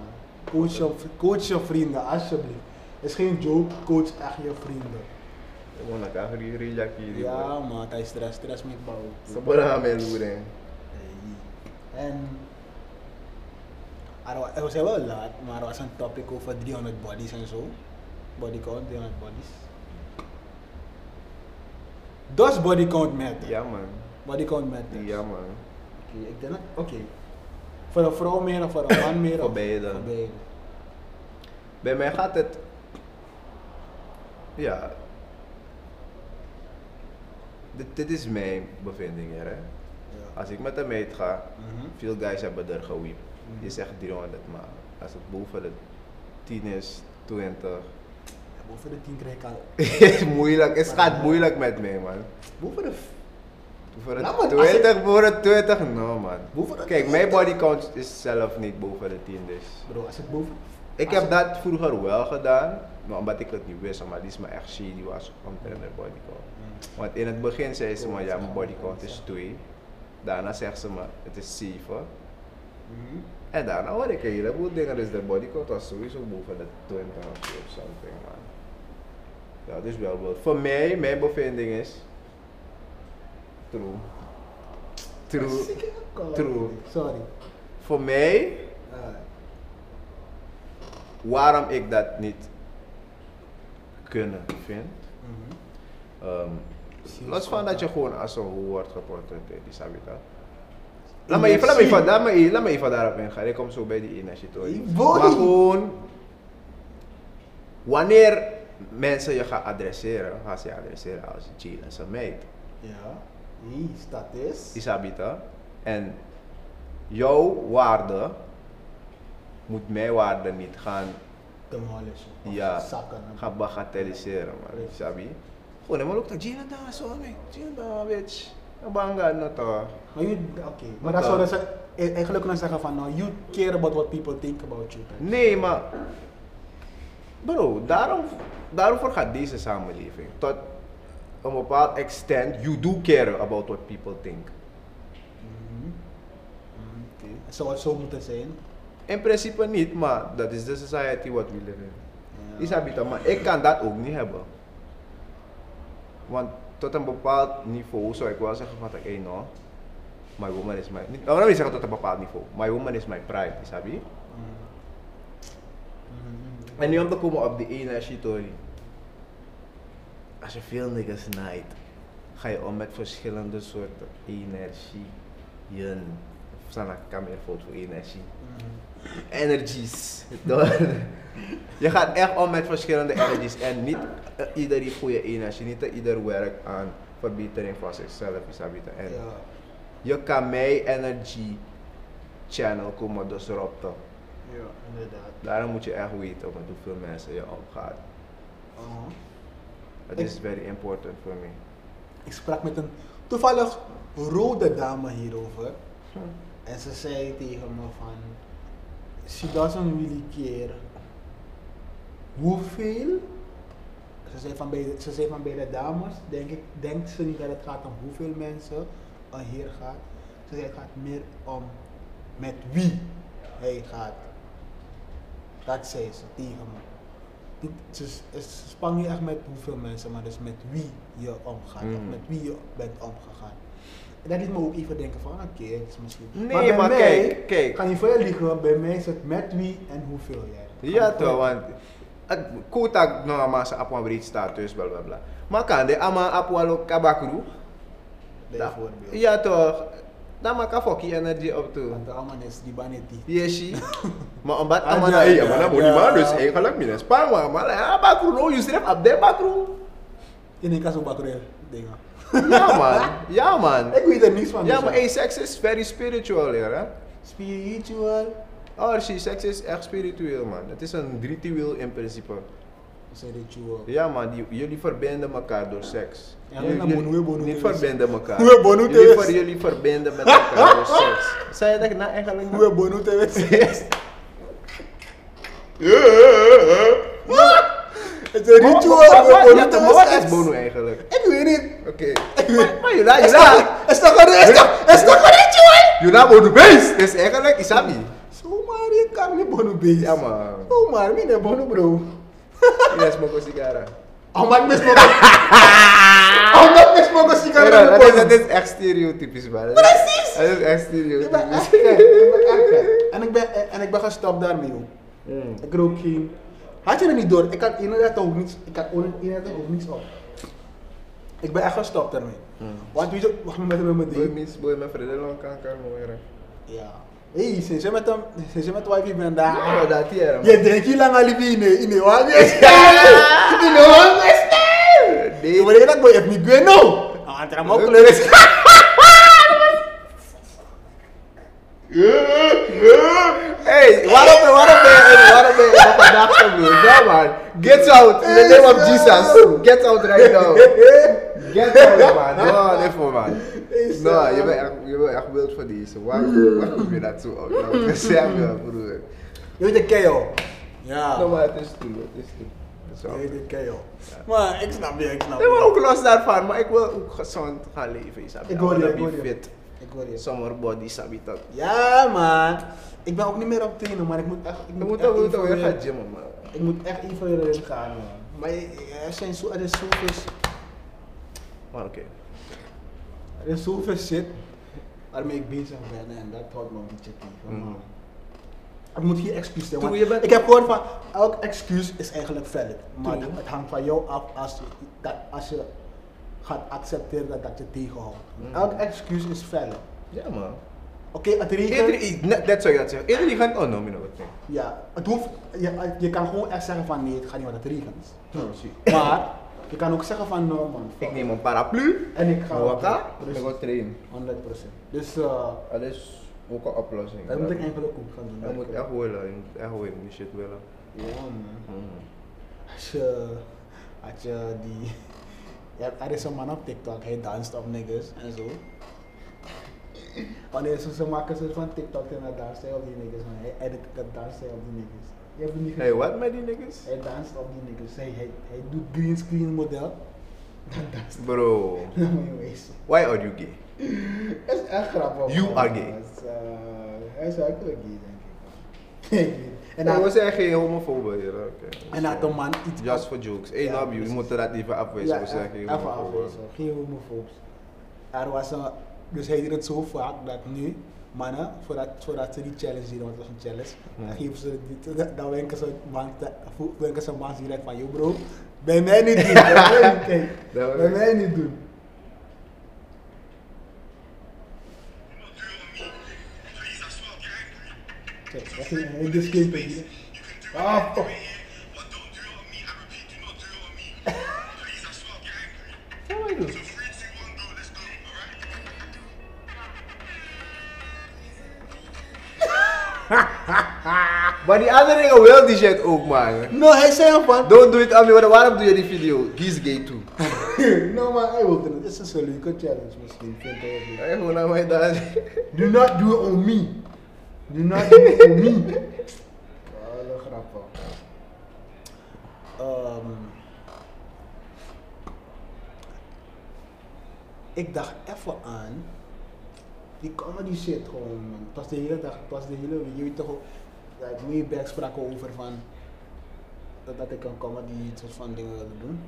S2: coach je, coach je vrienden alsjeblieft. Het is geen joke, coach echt je vrienden.
S1: Gewoon dat kan je reject hier.
S2: Ja man, hij stress, stress met bouwen.
S1: Sebenarnya meluren.
S2: En er wa- er was wel laat, maar er was een topic over 300 bodies en zo. Body count, 300 bodies. Does body count matter?
S1: Ja man,
S2: Body count matters.
S1: ja man.
S2: Oké, ik denk dat, oké. Voor een vrouw meer of voor een man meer? of-
S1: Voor beide.
S2: Voor beide.
S1: Bij mij gaat het. Ja. Dit, dit is mijn bevinding hier. Hè.
S2: Ja.
S1: Als ik met een meid ga,
S2: Mhm.
S1: veel guys hebben er gewiep.
S2: Mhm.
S1: Je zegt 300, maar als het boven de 10 is, 20.
S2: Ja, Boven de 10 krijg ik al.
S1: is moeilijk, het gaat moeilijk met mij man.
S2: Boven de.
S1: Voor het
S2: Nou, maar als ik-
S1: 20, voor het 20, no man.
S2: Boven de
S1: Kijk,
S2: 10.
S1: mijn body count is zelf niet boven de 10 dus.
S2: Bro, als ik boven.
S1: Ik
S2: als
S1: heb
S2: ik-
S1: dat vroeger wel gedaan, maar omdat ik het niet wist, maar die is me echt shady was omtrent mijn bodycount. Want in het begin zei ze me, ja, mijn bodycount is 2. Daarna zegt ze me, het is 7.
S2: Mhm.
S1: En daarna hoor ik een heleboel dingen, dus de bodycount was sowieso boven de 20 of zo, of something, man. Ja, dat is wel wel. Voor mij, mijn bevinding is... True. True.
S2: Zieke koude.
S1: True.
S2: Sorry.
S1: Voor mij,
S2: Ah.
S1: waarom ik dat niet kunnen vind,
S2: Mhm.
S1: Ehm,
S2: Precies.
S1: los van dat je gewoon als een hoe wordt geportretteerd, die snap je dat?
S2: In
S1: Laat me even,
S2: je
S1: laat me even,
S2: ziel.
S1: laat me even, laat me even daarop ingaan. Ik kom zo bij die energie toe.
S2: Boy.
S1: Maar gewoon, wanneer mensen je gaan adresseren, gaan ze je adresseren als Jill en zijn meid.
S2: Ja. Hier staat is.
S1: Isabita. En jouw waarde moet mijn waarde niet gaan,
S2: Demolish. Of
S1: Ja.
S2: Zakken.
S1: gaan bagatelliseren, man. Isabi. Gewoon helemaal ook dat Jill en daar, zo, man. Jill en daar, bitch. Banga, no toch.
S2: Maar je, oké. Maar
S1: Wat
S2: dat
S1: dan?
S2: zouden ze e- eigenlijk kunnen zeggen van, nou, you care about what people think about you. hè.
S1: Nee, maar. Bro, daarom, daarover gaat deze samenleving. Tot een bepaald extent, you do care about what people think.
S2: Mhm. Mhm, Oké. Het zou het zo moeten zijn.
S1: In principe niet, maar dat is de society what we live in.
S2: Ja.
S1: Isabita, maar ik kan dat ook niet hebben. Want tot een bepaald niveau zou ik wel zeggen van, hey no, my woman is my... Niet, nou, laat me zeggen tot een bepaald niveau. My woman is my pride, Isabi.
S2: Mhm. Mhm.
S1: En nu om te komen op die ene shitori. Als je veel niggas naait, ga je om met verschillende soorten energieën. Staan ik kan meer voor voor energie.
S2: Mhm.
S1: Energies. Door. je gaat echt om met verschillende energies. En niet eh, ieder heeft goede energie. Niet eh, ieder werkt aan verbetering van zichzelf. is dat beter. En
S2: Ja.
S1: je kan mijn energie channel komen disrupten.
S2: Ja, inderdaad.
S1: Daarom moet je echt weten met hoeveel mensen je omgaat.
S2: Aha.
S1: Het
S2: Ik-
S1: is very important voor me.
S2: Ik sprak met een toevallig rode dame hierover. En ze zei tegen me van, she doesn't really care hoeveel. Ze zei van bij de, ze zei van bij de dames, denk ik, denkt ze niet dat het gaat om hoeveel mensen een heer gaat. Ze zei het gaat meer om met wie hij gaat. Dat zei ze tegen me. Niet, ze, ze spang niet echt met hoeveel mensen, maar dus met wie je omgaat. of
S1: Mm.
S2: met wie je bent omgegaan. En dat liet me ook even denken van, oké, het is misschien...
S1: Nee,
S2: bij
S1: maar
S2: mij-
S1: kijk, kijk.
S2: ik ga niet voor je liegen, bij mij is het met wie en hoeveel jij.
S1: Ja toch, want het kotak no ama sa apwa breed status bla bla bla. Maar kan de ama apwa lo kabakru.
S2: Dat voorbeeld.
S1: Ja toch. Dan maak ik energie op toe.
S2: Want de allemaal is die banetti.
S1: Yeshi. Maar omdat
S2: Ah,
S1: ama
S2: ja,
S1: na iya
S2: ja,
S1: mana body
S2: ja.
S1: man dus eigenlijk minus. Pang wa mala abakru no you strip up de bakru.
S2: In een kast op bakker dingen.
S1: Ja man. Ja man.
S2: Ik weet er niks van.
S1: Ja
S2: dus,
S1: maar hey, seks is very spiritual eh? hier hè.
S2: Spiritual.
S1: Oh, shit, seks is echt spiritueel man. Het is een ritueel in principe.
S2: Is een ritual.
S1: Ja, maar die, jullie verbinden elkaar door seks.
S2: Ja,
S1: jullie
S2: dan
S1: jullie-
S2: moet je bonen
S1: niet
S2: doen.
S1: verbinden elkaar.
S2: Moet je bonen doen.
S1: jullie, ver, jullie verbinden met elkaar door seks. Zei je dat nou eigenlijk?
S2: Hoe hebben we het weten? Het is een ritual.
S1: Wat-
S2: We
S1: wat-
S2: hebben
S1: ja,
S2: het
S1: Wat is
S2: weten.
S1: bono eigenlijk?
S2: Ik weet niet.
S1: Oké. Maar- Maar jullie, jullie,
S2: Het is toch een
S1: Hè?
S2: ritual. Het is toch een ritual.
S1: jullie bono beest. is eigenlijk isabi.
S2: Zomaar je kan niet bono bezig.
S1: Ja, man.
S2: Zomaar, mijn bono bro.
S1: Yes, moko sigara.
S2: Omdat ik mis mogen. Omdat ik mis mogen
S1: Era,
S2: sigaren
S1: dat, is, dat
S2: bono.
S1: is echt stereotypisch, man.
S2: Precies.
S1: Dat is echt
S2: Ik ben
S1: stereotypisch.
S2: echt gek. Ik ben echt gek. En ik ben- En ik ben gestopt daarmee ook.
S1: Hmm.
S2: Ik rook geen. Had je er niet door? Ik had inderdaad ook niets. Ik had on- inderdaad ook niets op. Ik ben echt gestopt daarmee. Want weet je, wacht maar met hem met
S1: Boy,
S2: die.
S1: mis, boy, mijn vrienden lang kan kan horen.
S2: Ja. Hé, sinds je met hem, sinds je met wifi bent
S1: Ah,
S2: daar.
S1: dat hier, man.
S2: Je denkt hier lang al die in de- in de wagen staan. In de wagen staan.
S1: Nee.
S2: Je weet dat boy heeft niet gwen nou. Ah, het raam ook kleur is.
S1: Hey, waarom, waarom ben je waarom ben je op een dag gebleven? Ja man, get out in the name of Jesus. Get out right now.
S2: Eh,
S1: Get out man. No, nee voor man. No, je bent echt, je bent echt wild voor deze. Waarom, waarom kom je dat zo op? Nou, gezegd ja broer.
S2: Je weet de KO. Ja.
S1: No maar het is toe, het is toe. Dat is
S2: Je
S1: wel
S2: weet
S1: goed.
S2: de KO. Maar ik snap je, ik snap
S1: Nee, maar
S2: je.
S1: ook los daarvan, maar ik wil ook gezond gaan leven. Isabel.
S2: Ik hoor je, ik
S1: wil
S2: hoor je.
S1: fit.
S2: Ik hoor je.
S1: Summer body, sabi dat.
S2: Ja, man. Ik ben ook niet meer op trainen, maar ik moet echt. Ik
S1: We
S2: moet,
S1: moeten
S2: echt
S1: we moeten weer
S2: even
S1: gaan gymmen man.
S2: Ik moet echt even weer erin gaan, man. Maar je- er zijn zo, er is zoveel,
S1: Maar oké.
S2: er is zoveel shit waarmee ik bezig ben en dat houdt me een beetje tegen, man.
S1: Mhm.
S2: Ik moet geen excuus zijn.
S1: Toen
S2: want
S1: je bent-
S2: Ik heb gehoord van elk excuus is eigenlijk valid. Maar
S1: Toen-
S2: het hangt van jou af als je, dat, als je gaat accepteren dat dat je tegenhoudt.
S1: Mhm.
S2: Elk excuus is valid.
S1: Ja man.
S2: Oké, het regent.
S1: Iedereen, net, dat zou je dat zeggen. Iedereen gaat onnomen nou, nog wat denken.
S2: Ja, het hoeft, je, je kan gewoon echt zeggen van nee, het gaat niet, want het regent.
S1: Ik
S2: Maar je kan ook zeggen van no man. fuck
S1: neem een paraplu.
S2: En ik ga
S1: Ga waka.
S2: Dus
S1: Ik ga trainen.
S2: 100%. Dus eh
S1: Dat is ook een oplossing.
S2: dat moet ik eigenlijk ook gaan doen.
S1: Je moet echt willen. Je moet echt willen. die shit willen.
S2: Ja, man. Als je, als je die. Ja, er is een man op TikTok, hij danst op niggas en zo. Wanneer ze, ze maken een soort van TikTok en dan danst hij op die niggas. En hij edit dat danst hij op die niggas. Je hebt het niet
S1: Hey,
S2: gezien.
S1: wat met die niggas?
S2: Hij danst op die niggas. Hij, hij, hij doet green screen model. Dan danst
S1: Bro,
S2: hij op je waist.
S1: why are you gay?
S2: Dat is echt grappig.
S1: You
S2: man.
S1: are gay.
S2: Dat is, eh, Hij is eigenlijk gay, denk ik. Ik weet niet. en
S1: En Oh, we
S2: hij,
S1: zijn geen homofobe hier. oké.
S2: en hij had een man iets...
S1: Just for jokes. Hey,
S2: Ja,
S1: Nabi, we
S2: precies.
S1: moeten dat even afwijzen. we zijn
S2: eh,
S1: geen
S2: even
S1: homofobe.
S2: afwezen. Geen homofobes. Er was een... Dus hij deed het zo vaak dat nu mannen, voordat, voordat ze die challenge deden, want het was een challenge,
S1: Hmm.
S2: dan geven ze die, dan wenken ze man, wenken ze man direct van, yo bro, bij mij niet doen, bij mij niet, kijk,
S1: Dat
S2: bij
S1: was-
S2: mij niet doen. Kijk, wat ging hij dus kijken? Ah, fuck.
S1: Wat wil je doen? Maar die andere dingen wel die shit ook, man.
S2: No, Nou, hij zei hem van,
S1: Don't do it on me. want Waarom doe je die video? He's gay too.
S2: no maar hij wilde het. Het is een leuke challenge misschien, vindt hij ook niet.
S1: Hey, gewoon aan mij daar.
S2: Do not do it on me. Do not do it on me. Alle grappen. Ehm, ik dacht even aan die comedy shit gewoon. Man. Het was de hele dag, het was de hele week. Je weet toch ook, like, me en Beck spraken over van dat, dat ik een comedy soort van dingen wilde doen.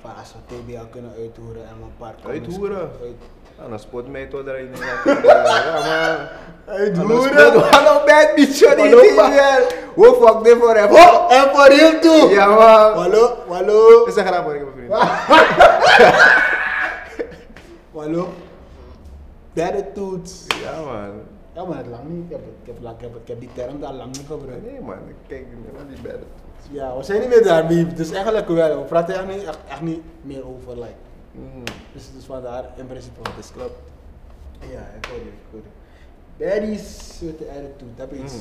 S2: Van als we TBL kunnen uithoeren en een paar comments-
S1: Uithoeren?
S2: Uit,
S1: Ah, Dan spot mij tot er in. Ja, man.
S2: Hey,
S1: Hallo, spot- hallo, bad bitch, joh, die
S2: Hallo,
S1: ding
S2: man.
S1: weer. Hoe fuck dit voor hem?
S2: Oh, en voor real toe!
S1: Ja man.
S2: Wallo, wallo,
S1: Is een grap hoor, ik heb een vriend.
S2: wallo. Derde toets.
S1: Ja man.
S2: Ja, maar het lang niet. Ik heb, het- ik heb, lang- ik heb, het- ik heb die term daar lang niet gebruikt.
S1: Nee man, ik kijk niet naar die bedden.
S2: Ja, we zijn niet meer daar, Biep. Dus eigenlijk wel. We praten echt niet, echt, echt niet meer over. Like.
S1: Mm.
S2: Dus, dus vandaar in principe wat is klopt. Ja, ik hoor je, ik hoor je. Hmm. Bij die soort attitude heb ik iets.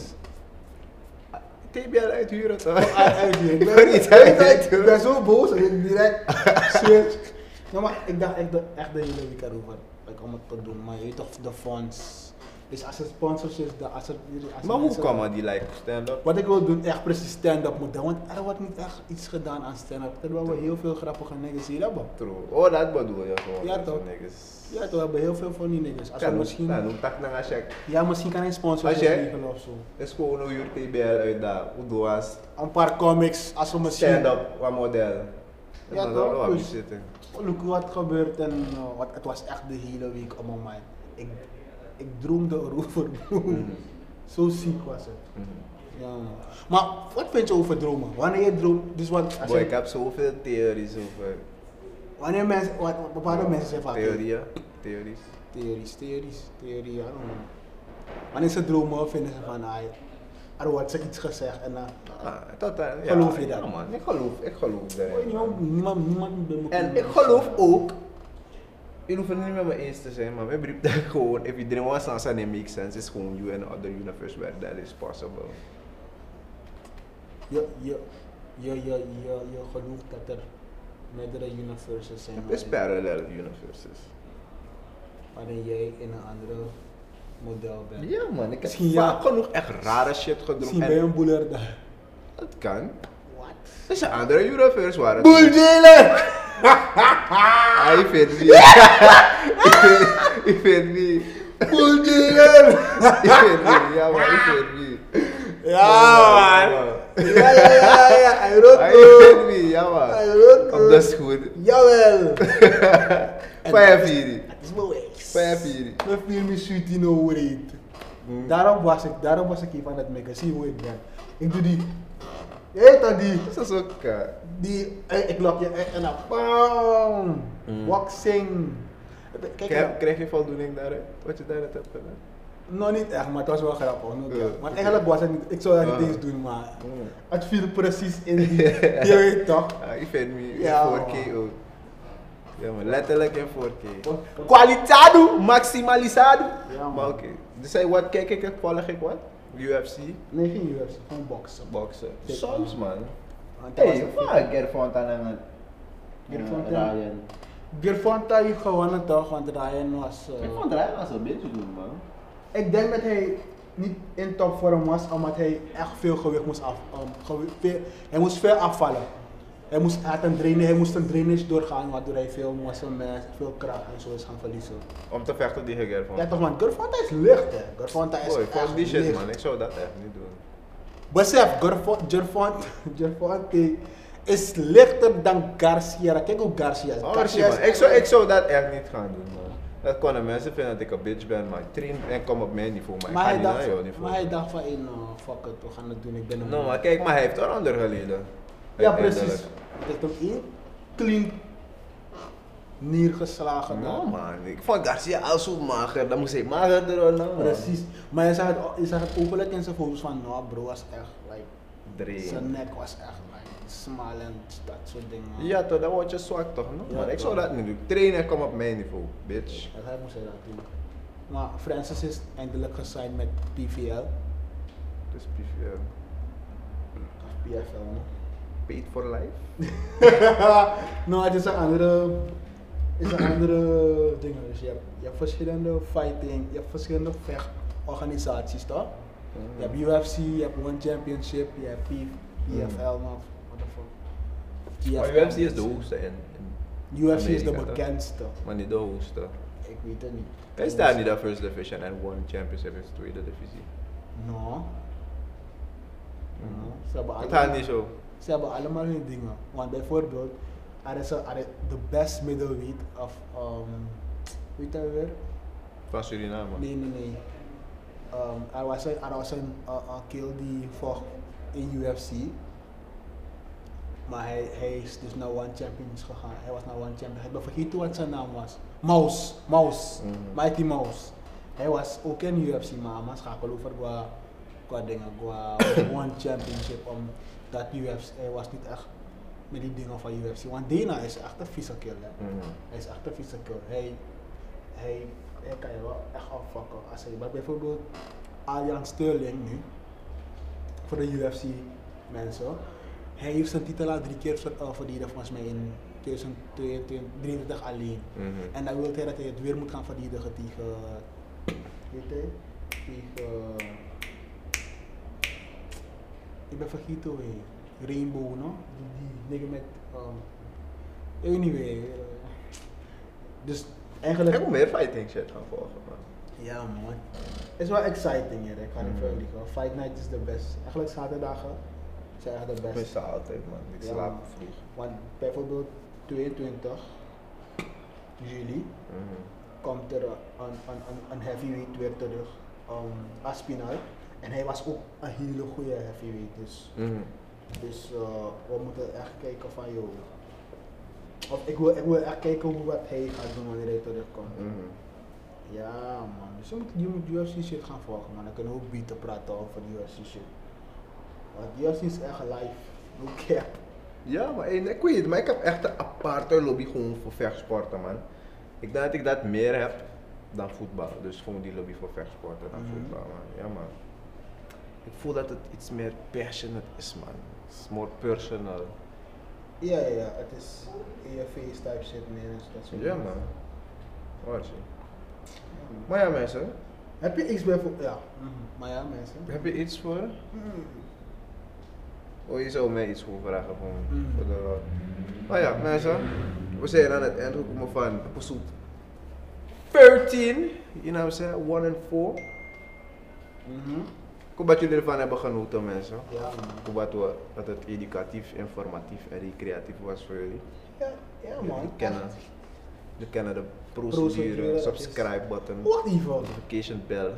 S1: TBL uithuren toch?
S2: Oh, uit hier.
S1: Ik wil niet
S2: weet je,
S1: uit
S2: ik ben zo boos dat ik direct switch. Nou, maar ik dacht echt, dat- echt dat jullie week erover like, om het te doen. Maar je weet toch de fonds. Dus als er sponsorships, dan als er... Als er
S1: Maar hoe
S2: mensen-
S1: kwam die like stand-up?
S2: Wat ik wil doen, echt precies stand-up moet doen. Want er wordt niet echt iets gedaan aan stand-up. Terwijl we heel veel grappige niggas hier hebben.
S1: True. Oh, dat bedoel je gewoon.
S2: Ja,
S1: dat
S2: toch.
S1: soort niggas.
S2: Ja, toch, we hebben heel veel van die niggas. Als we
S1: Kan
S2: misschien,
S1: Kan ook tak naar check.
S2: ja, misschien kan hij sponsorships
S1: Als jij-
S2: regelen of zo.
S1: Is gewoon hoe je TBL uit daar. Hoe doe je
S2: Een paar comics, als we misschien...
S1: stand-up, wat model?
S2: Ja,
S1: Dan
S2: toch?
S1: wel wat
S2: Dus-
S1: zitten.
S2: Look wat gebeurt en eh, wat, het was echt de hele week om mijn mind. Ik, ik droomde erover. broer.
S1: Hmm.
S2: Zo ziek was het. Ja. Maar wat vind je over dromen? Wanneer je droomt, dus wat, als
S1: Boy,
S2: je-
S1: ik heb zoveel theories over.
S2: wanneer mensen, wat, wat bepaalde mensen zeggen vaak
S1: Theorieën. Theories.
S2: theories, theories, theorie, I don't know. Wanneer ze dromen vinden ze van, ah, er wordt ze iets gezegd en dan,
S1: Ah, dat, eh, ja.
S2: Geloof je dat?
S1: Ja, man. Ik geloof, ik geloof
S2: Oei,
S1: daarin.
S2: niemand, niemand, niemand bij me
S1: En
S2: komt.
S1: ik geloof ook, jullie hoeven het niet met me eens te zijn, maar mijn brief dat gewoon, if you dream one sense and it makes sense, it's gewoon you and other universe where that is possible.
S2: Je, je, je, je, je, je gelooft dat er meerdere universes zijn.
S1: It's
S2: waarin-
S1: parallel universes.
S2: waarin jij in een andere model bent.
S1: Ja man, ik heb
S2: Misschien
S1: vaak
S2: ja.
S1: genoeg echt rare shit gedroomd
S2: Misschien ben je
S1: en
S2: een boeler daar.
S1: dat kan.
S2: Wat?
S1: Dat is een andere universe waar het...
S2: Boeldealer!
S1: Ah, ik vind het niet. ik, vind, ik vind het niet.
S2: Boeldealer!
S1: Ik vind het niet, ja man, ik vind het niet.
S2: Ja man! Ja ja ja ja, hij roept
S1: Ah, Ik vind het
S2: me.
S1: niet, ja
S2: Hij
S1: man.
S2: roept
S1: Op dat
S2: me.
S1: is goed.
S2: Jawel!
S1: Vijf hier.
S2: Het is mijn wees.
S1: Vijf Hm. hier.
S2: Mijn film is zoet in overheid. Daarom was ik, daarom was ik hier van het maken. Zie hoe ik ben. Ik doe die... Heet dat die...
S1: Dat is ook. eh,
S2: Die... eh, Ik loop je echt en dan... Bam!
S1: Mm.
S2: Boxing! Kijk,
S1: Krijg,
S2: nou.
S1: krijg je voldoening daaruit? Wat je daaruit hebt gedaan?
S2: Nou, niet echt, maar het was wel grappig. Niet
S1: Ja.
S2: echt. Maar eigenlijk was het niet, ik zou dat niet
S1: Ah.
S2: eens doen, maar het viel precies in die, je weet toch?
S1: Ah, ik vind me
S2: Ja,
S1: in 4K ook. Ja, maar oh. letterlijk in 4K.
S2: Kwalitado!
S1: Maximalisado!
S2: Ja, man.
S1: maar oké. Dus hij, wat kijk ik, volg ik wat? UFC,
S2: Nee, geen UFC, gewoon boksen.
S1: boksen.
S2: Kijk,
S1: Soms
S2: man.
S1: man.
S2: Want dat was
S3: Hey,
S2: een-
S3: fuck, Gerfonta naman.
S2: Gerfontein.
S3: Ryan.
S2: Gervonta heeft gewonnen toch, want Ryan was... eh,
S3: Gerfonta Ryan was een beetje doen, man.
S2: ik denk dat hij niet in topvorm was, omdat hij echt veel gewicht moest af... um, gewi- veel- hij moest veel afvallen. Hij moest uit een drainage, hij moest een drainage doorgaan, waardoor hij veel muscle mass, veel kracht en zo is gaan verliezen.
S1: Om te vechten tegen Gervon.
S2: Ja toch man, Gervonta is licht hè. Gervonta is
S1: Boy,
S2: echt
S1: fuck die shit
S2: licht.
S1: man, ik zou dat echt niet doen.
S2: Besef, Gerfo- Gerfon- Gerfonte is lichter dan Garcia. Kijk hoe Garcia is.
S1: Oh
S2: Garcia
S1: shit
S2: is
S1: man, ik zou, ik zou dat echt niet gaan doen man. Dat konden mensen vinden dat ik een bitch ben, maar ik train en kom op mijn niveau, maar, nou,
S2: Maar
S1: ik
S2: hij,
S1: ga niet
S2: dacht,
S1: naar jouw niveau.
S2: maar hij dacht van, hey, no, fuck it, we gaan het doen. Ik ben een
S1: Nou,
S2: man.
S1: maar kijk, maar hij heeft eronder geleden.
S2: Ja,
S1: Uiteindelijk.
S2: precies. Ik heb hem één clean neergeslagen.
S1: Nou man, ik vond Garcia al zo mager, dan moest hij magerder worden. man.
S2: Precies. Maar je zag, het, je zag het openlijk in zijn foto's van, nou bro, was echt, like,
S1: Dream.
S2: zijn nek was echt, like, smal en dat soort dingen.
S1: Ja toch, dan word je zwak toch? No?
S2: Ja,
S1: man, ik zou
S2: toch.
S1: dat niet doen. Trainen en kom op mijn niveau, bitch.
S2: Dat hij moest hij dat doen. Maar Francis is eindelijk gesigned met PVL.
S1: Dus PVL.
S2: Of PFL, man.
S1: Paid for life?
S2: nou, het is een andere. Het is een andere ding. Dus je, hebt, je hebt verschillende fighting, je hebt verschillende vechtorganisaties toch? Je hebt UFC, je hebt One Championship, je hebt P, PFL, man. What the fuck.
S1: Maar
S2: PFL.
S1: UFC is de hoogste in, in
S2: UFC is de
S1: Amerika, toch?
S2: bekendste.
S1: maar niet de hoogste.
S2: Ik weet het niet.
S1: Is daar niet de first division en one championship is tweede divisie?
S2: No. No.
S1: Mhm. Hmm.
S2: Ze hebben
S1: Dat
S2: allemaal-
S1: gaat niet zo.
S2: Ze hebben allemaal hun dingen. Want bijvoorbeeld, er is een- er is de best middleweight of, um, weet je weer?
S1: Van Suriname.
S2: uh, Nee, nee, nee. Um, er was een, er was een, eh, een kill die vocht in UFC. Maar hij, hij is dus naar One Champions gegaan. Hij was naar One Champions. Ik ben vergeten wat zijn naam was. Mouse. Mouse.
S1: Mhm.
S2: Mighty Mouse. Hij was ook in UFC, maar hij schakelde over qua, qua dingen. Qua One Championship. Omdat UFC, hij was niet echt met die dingen van UFC. Want Dana is echt een vieze killer.
S1: Mhm.
S2: Hij is echt een vieze killer. Hij, hij, hij kan je wel echt afvakken. Als hij, maar bijvoorbeeld Arjan Sterling nu, voor de UFC mensen, hij heeft zijn titel al drie keer ver- eh, verdedigd volgens mij in 2023 alleen.
S1: Mhm.
S2: En dan wil hij dat hij het weer moet gaan verdedigen tegen, weet hij, tegen, ik ben vergeten hoe hij heet. Rainbow, no? Die, die nigger met, um, anyway. eh, Dus eigenlijk...
S1: Ik moet meer fighting shit gaan volgen, man.
S2: Ja, man. Het is wel exciting, hier. Ik ga niet
S1: Mm.
S2: veel liegen. Fight night is de best. Eigenlijk zaterdagen zijn echt de
S1: Ik
S2: best.
S1: mis dat altijd, man. Ik
S2: Ja,
S1: slaap
S2: man.
S1: vroeg.
S2: Want bijvoorbeeld 22 juli
S1: Mhm.
S2: komt er een, een, een, een heavyweight weer terug. Um, Aspinal. En hij was ook een hele goede heavyweight. Dus,
S1: Mhm.
S2: dus eh, we moeten echt kijken van joh. Of ik wil, ik wil echt kijken hoe wat hij gaat doen wanneer hij terugkomt.
S1: Mhm.
S2: Ja man, dus je moet, je moet UFC shit gaan volgen man. Dan kunnen we ook beter praten over die UFC shit. Want UFC is echt live, no cap.
S1: Ja, maar en ik weet het, maar ik heb echt een aparte lobby gewoon voor vechtsporten, man. Ik denk dat ik dat meer heb dan voetbal. Dus gewoon die lobby voor vechtsporten dan
S2: Mhm.
S1: voetbal, man. Ja, man. Ik voel dat het iets meer passionate is, man. It's more personal.
S2: Ja, ja, ja, het is EFA's type shit meer. Dus dat soort
S1: Ja,
S2: dingen.
S1: man. Wat je. Maar ja, mensen.
S2: Heb je iets bijvoorbeeld? Ja, mhm. maar ja mensen.
S1: Heb je iets voor?
S2: Mm-hmm.
S1: Oh, je zou mij iets voor vragen gewoon.
S2: Mm.
S1: Voor de, maar ja, mensen. We zijn aan het eind gekomen van episode 13. You know what I'm saying? 1 and 4.
S2: Mhm.
S1: Ik hoop dat jullie ervan hebben genoten, mensen.
S2: Ja man.
S1: Ik hoop dat, we, dat het educatief, informatief en recreatief was voor jullie.
S2: Ja, ja man.
S1: Jullie kennen,
S2: Echt.
S1: jullie kennen de
S2: Procedure,
S1: procedure,
S2: dat is-
S1: subscribe button,
S2: Wacht even.
S1: notification bell,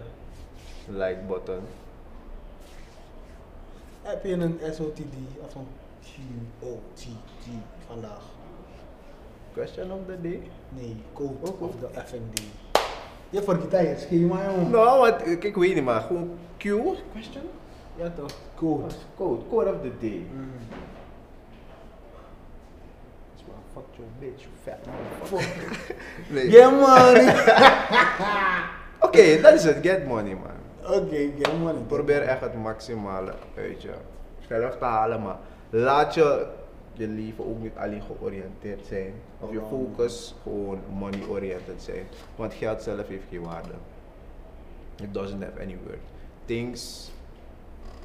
S1: like button.
S2: Heb je een SOTD of een QOTD vandaag?
S1: Question of the day?
S2: Nee, code
S1: Oh,
S2: of
S1: goed.
S2: de FND. Je vergeet dat je schema jongen.
S1: Nou, want ik, ik weet niet, maar gewoon Q. Question?
S2: Ja toch?
S1: Oh.
S2: Code.
S1: Code, code of the day.
S2: Mm.
S1: That's why I fucked your bitch, you fat motherfucker. nee.
S2: Get money!
S1: Oké, dat is het. Get money, man.
S2: Oké, get money.
S1: Probeer echt het maximale uit je zelf te halen, maar laat je je leven ook niet alleen georiënteerd zijn. Of je focus gewoon money-oriented zijn. Want geld zelf heeft geen waarde. It doesn't have any worth. Things,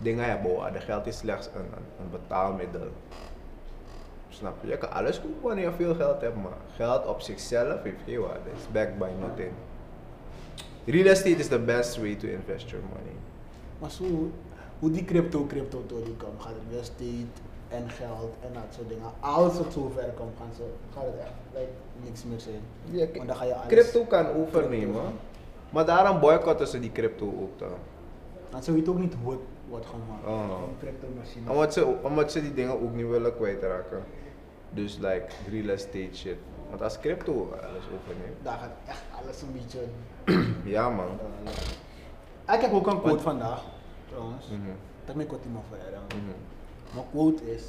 S1: dingen hebben waarde. Geld is slechts een, een, een betaalmiddel. Snap je? Je kan alles kopen wanneer je veel geld hebt, maar geld op zichzelf heeft geen waarde. It's backed by nothing. Real estate is the best way to invest your money.
S2: Maar zo, hoe die crypto crypto door die komt, gaat het estate en geld en dat soort dingen. Als het zo ver komt, gaan ze, gaat het echt like, niks meer zijn.
S1: Ja, k-
S2: Want dan ga je alles-
S1: crypto kan overnemen.
S2: Crypto.
S1: Maar daarom boycotten ze die crypto ook dan.
S2: Dan zou je het ook niet wordt, wordt gemaakt.
S1: Oh.
S2: Een crypto machine.
S1: Omdat ze, omdat ze die dingen ook niet willen kwijtraken. Dus like real estate shit. Want als crypto alles overneemt.
S2: Daar gaat echt alles een beetje.
S1: Ja man.
S2: eh, ik heb ook een quote vandaag, trouwens.
S1: Mhm,
S2: Dat ben ik wat iemand verder.
S1: mhm.
S2: My quote is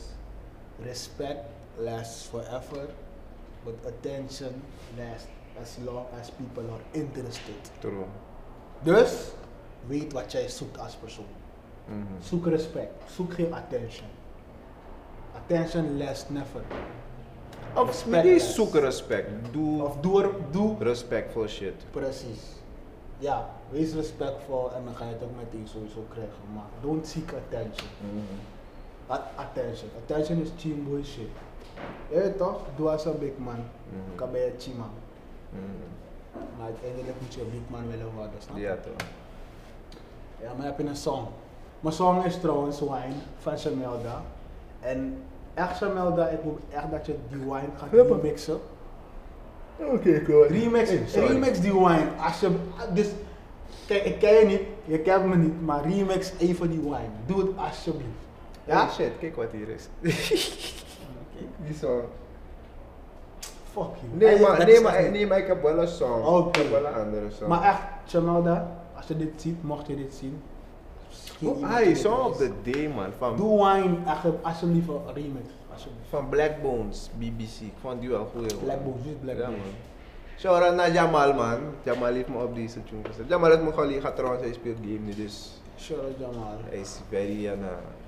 S2: respect lasts forever, but attention lasts as long as people are interested.
S1: True.
S2: Dus weet wat jij zoekt als persoon.
S1: Mhm.
S2: Zoek respect, zoek geen attention. Attention lasts never.
S1: Of
S2: Respect
S1: niet
S2: is-
S1: zoek respect. Doe
S2: Of doe, er- doe
S1: respectful shit.
S2: precies. Ja, wees respectvol en dan ga je het ook meteen sowieso krijgen. Maar don't seek attention. At- attention. Attention is cheap bullshit. Je weet toch? Doe als een big man.
S1: Mhm.
S2: Kan bij je cheap man.
S1: Mhm.
S2: Maar uiteindelijk moet je een big man willen worden, snap je?
S1: Ja toch.
S2: Ja, maar heb je een song. Mijn song is trouwens Wine van Shamelda. En echt Shamelda, ik hoop echt dat je die wine gaat
S1: Hup.
S2: remixen.
S1: Oké, cool.
S2: Remix,
S1: sorry.
S2: remix die wine. Als je, dus, kijk, ik ken je niet, je kent me niet, maar remix even die wine. Doe het alsjeblieft.
S1: Ja?
S2: Ja?
S1: Hey, shit, kijk wat hier is. Die song.
S2: Fuck you.
S1: Nee,
S2: Eigenlijk,
S1: maar,
S2: dat
S1: nee,
S2: is
S1: maar,
S2: echt
S1: eh,
S2: niet-
S1: nee, maar ik heb wel een song. Ik
S2: Oké.
S1: heb wel een andere song.
S2: Maar echt, Chamalda, als je dit ziet, mocht je dit zien. schiet
S1: Hoe-
S2: iemand
S1: Hey,
S2: in
S1: song op
S2: neus.
S1: de D, man. Van,
S2: Doe wine, echt, alsjeblieft, een remix. Alsjeblieft.
S1: van Black Bones, BBC. Ik vond die wel goed.
S2: Black Bones, dit is Black
S1: Ja,
S2: Bones.
S1: man. Shout out naar Jamal, man. Jamal heeft me op deze tune gezet. Jamal uit Mogali gaat trouwens, hij speelt game nu, dus
S2: Shout out Jamal.
S1: hij is very uh,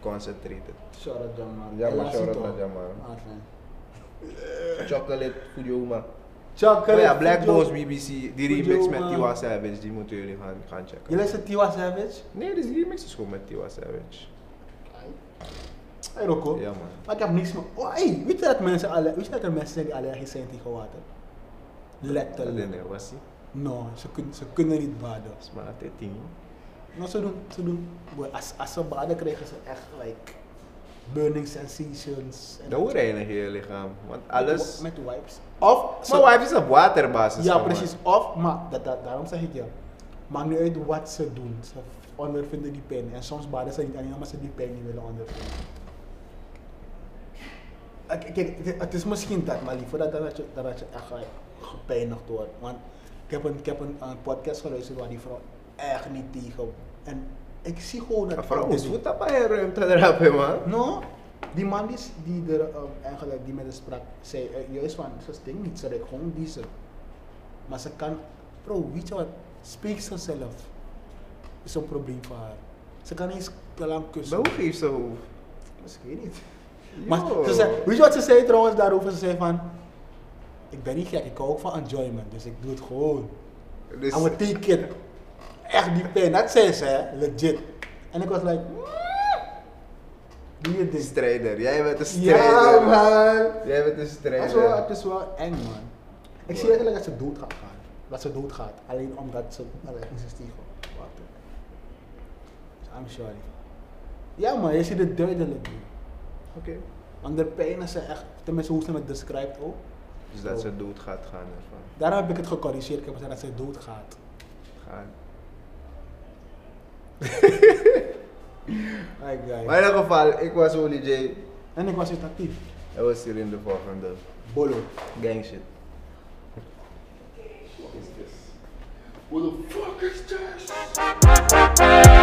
S1: concentrated.
S2: Shout out Jamal.
S1: Ja, maar
S2: Helaas
S1: shout out
S2: niet,
S1: naar
S2: hoor.
S1: Jamal.
S2: Ah, fijn.
S1: Chocolate, Fujo Uma.
S2: Chocolate.
S1: Maar ja, Black
S2: Fujo.
S1: Bones, BBC, die
S2: Fujo
S1: remix met
S2: Uma.
S1: Tiwa Savage, die moeten jullie gaan, gaan checken.
S2: Je luistert Tiwa Savage?
S1: Nee, dus die remix is gewoon met Tiwa Savage.
S2: Hey Rocco.
S1: Ja, man.
S2: Maar ik heb niks meer. Oh, hey, weet je dat mensen alle, weet je dat er mensen zijn die allergisch zijn tegen water?
S1: Dat is
S2: Letterlijk.
S1: een wassie.
S2: No, ze, kun, ze kunnen niet baden.
S1: Dat is maar altijd tien.
S2: Nou, ze doen, ze doen. Boy, als, als ze baden krijgen ze echt like burning sensations. en-
S1: Dat reinig je je lichaam. Want alles.
S2: Met wipes. Of, ze-
S1: Maar wife is op waterbasis.
S2: ja
S1: gemaakt.
S2: precies. Of, maar dat, dat, daarom zeg ik ja. Maakt niet uit wat ze doen. Ze ondervinden die pijn. En soms baden ze niet alleen omdat ze die pijn niet willen ondervinden. Kijk, kijk, het- het is misschien dat, maar liever dat, dan dat, je, dan dat je echt eh, gepijnigd wordt. Want ik heb, een, ik heb een, een podcast geluisterd waar die vrouw echt niet tegen. En ik zie gewoon dat.
S1: Een vrouw
S2: vrouwen
S1: is
S2: doen.
S1: goed dat bij ruimte erop, hè, man.
S2: No, die man die, s- die er um, eigenlijk die met de sprak zei, eh, juist van, ze stinkt niet, ze ruikt gewoon diesel. Maar ze kan, bro, weet je wat, spreekt zichzelf. Is een probleem voor haar. Ze kan niet eens te lang
S1: Maar
S2: kussen.
S1: hoe geeft ze hoef?
S2: Dus ik weet niet.
S1: Yo.
S2: Maar ze zei, weet je wat ze zei trouwens daarover? Ze zei van, ik ben niet gek, ik hou ook van enjoyment, dus ik doe het gewoon.
S1: Dus,
S2: I'm a take it. Echt die pijn, dat zei ze, hè, legit. En ik was like, mm, doe je
S1: een
S2: ding.
S1: strijder. Jij bent een
S2: Ja,
S1: strijder.
S2: man.
S1: Jij bent een
S2: Het is, wel,
S1: strijder.
S2: het is wel eng, man. Ik zie
S1: Wow.
S2: eigenlijk dat ze dood gaat gaan. Dat ze dood gaat. Alleen omdat ze allergisch is tegen water. Dus I'm sorry. Ja, man, je ziet het duidelijk. man.
S1: Oké.
S2: Onder pijn is ze echt, tenminste hoe ze het beschrijft ook.
S1: Dus dat ze dood gaat gaan ervan.
S2: Daarom heb ik het gecorrigeerd. Ik heb gezegd dat ze dood gaat.
S1: Gaan.
S2: Ay, guy.
S1: Maar in ieder geval, ik was Oli E J.
S2: En ik was dus actief.
S1: Hij was hier in de volgende
S2: Bolo.
S1: gang shit.
S3: What the fuck is this?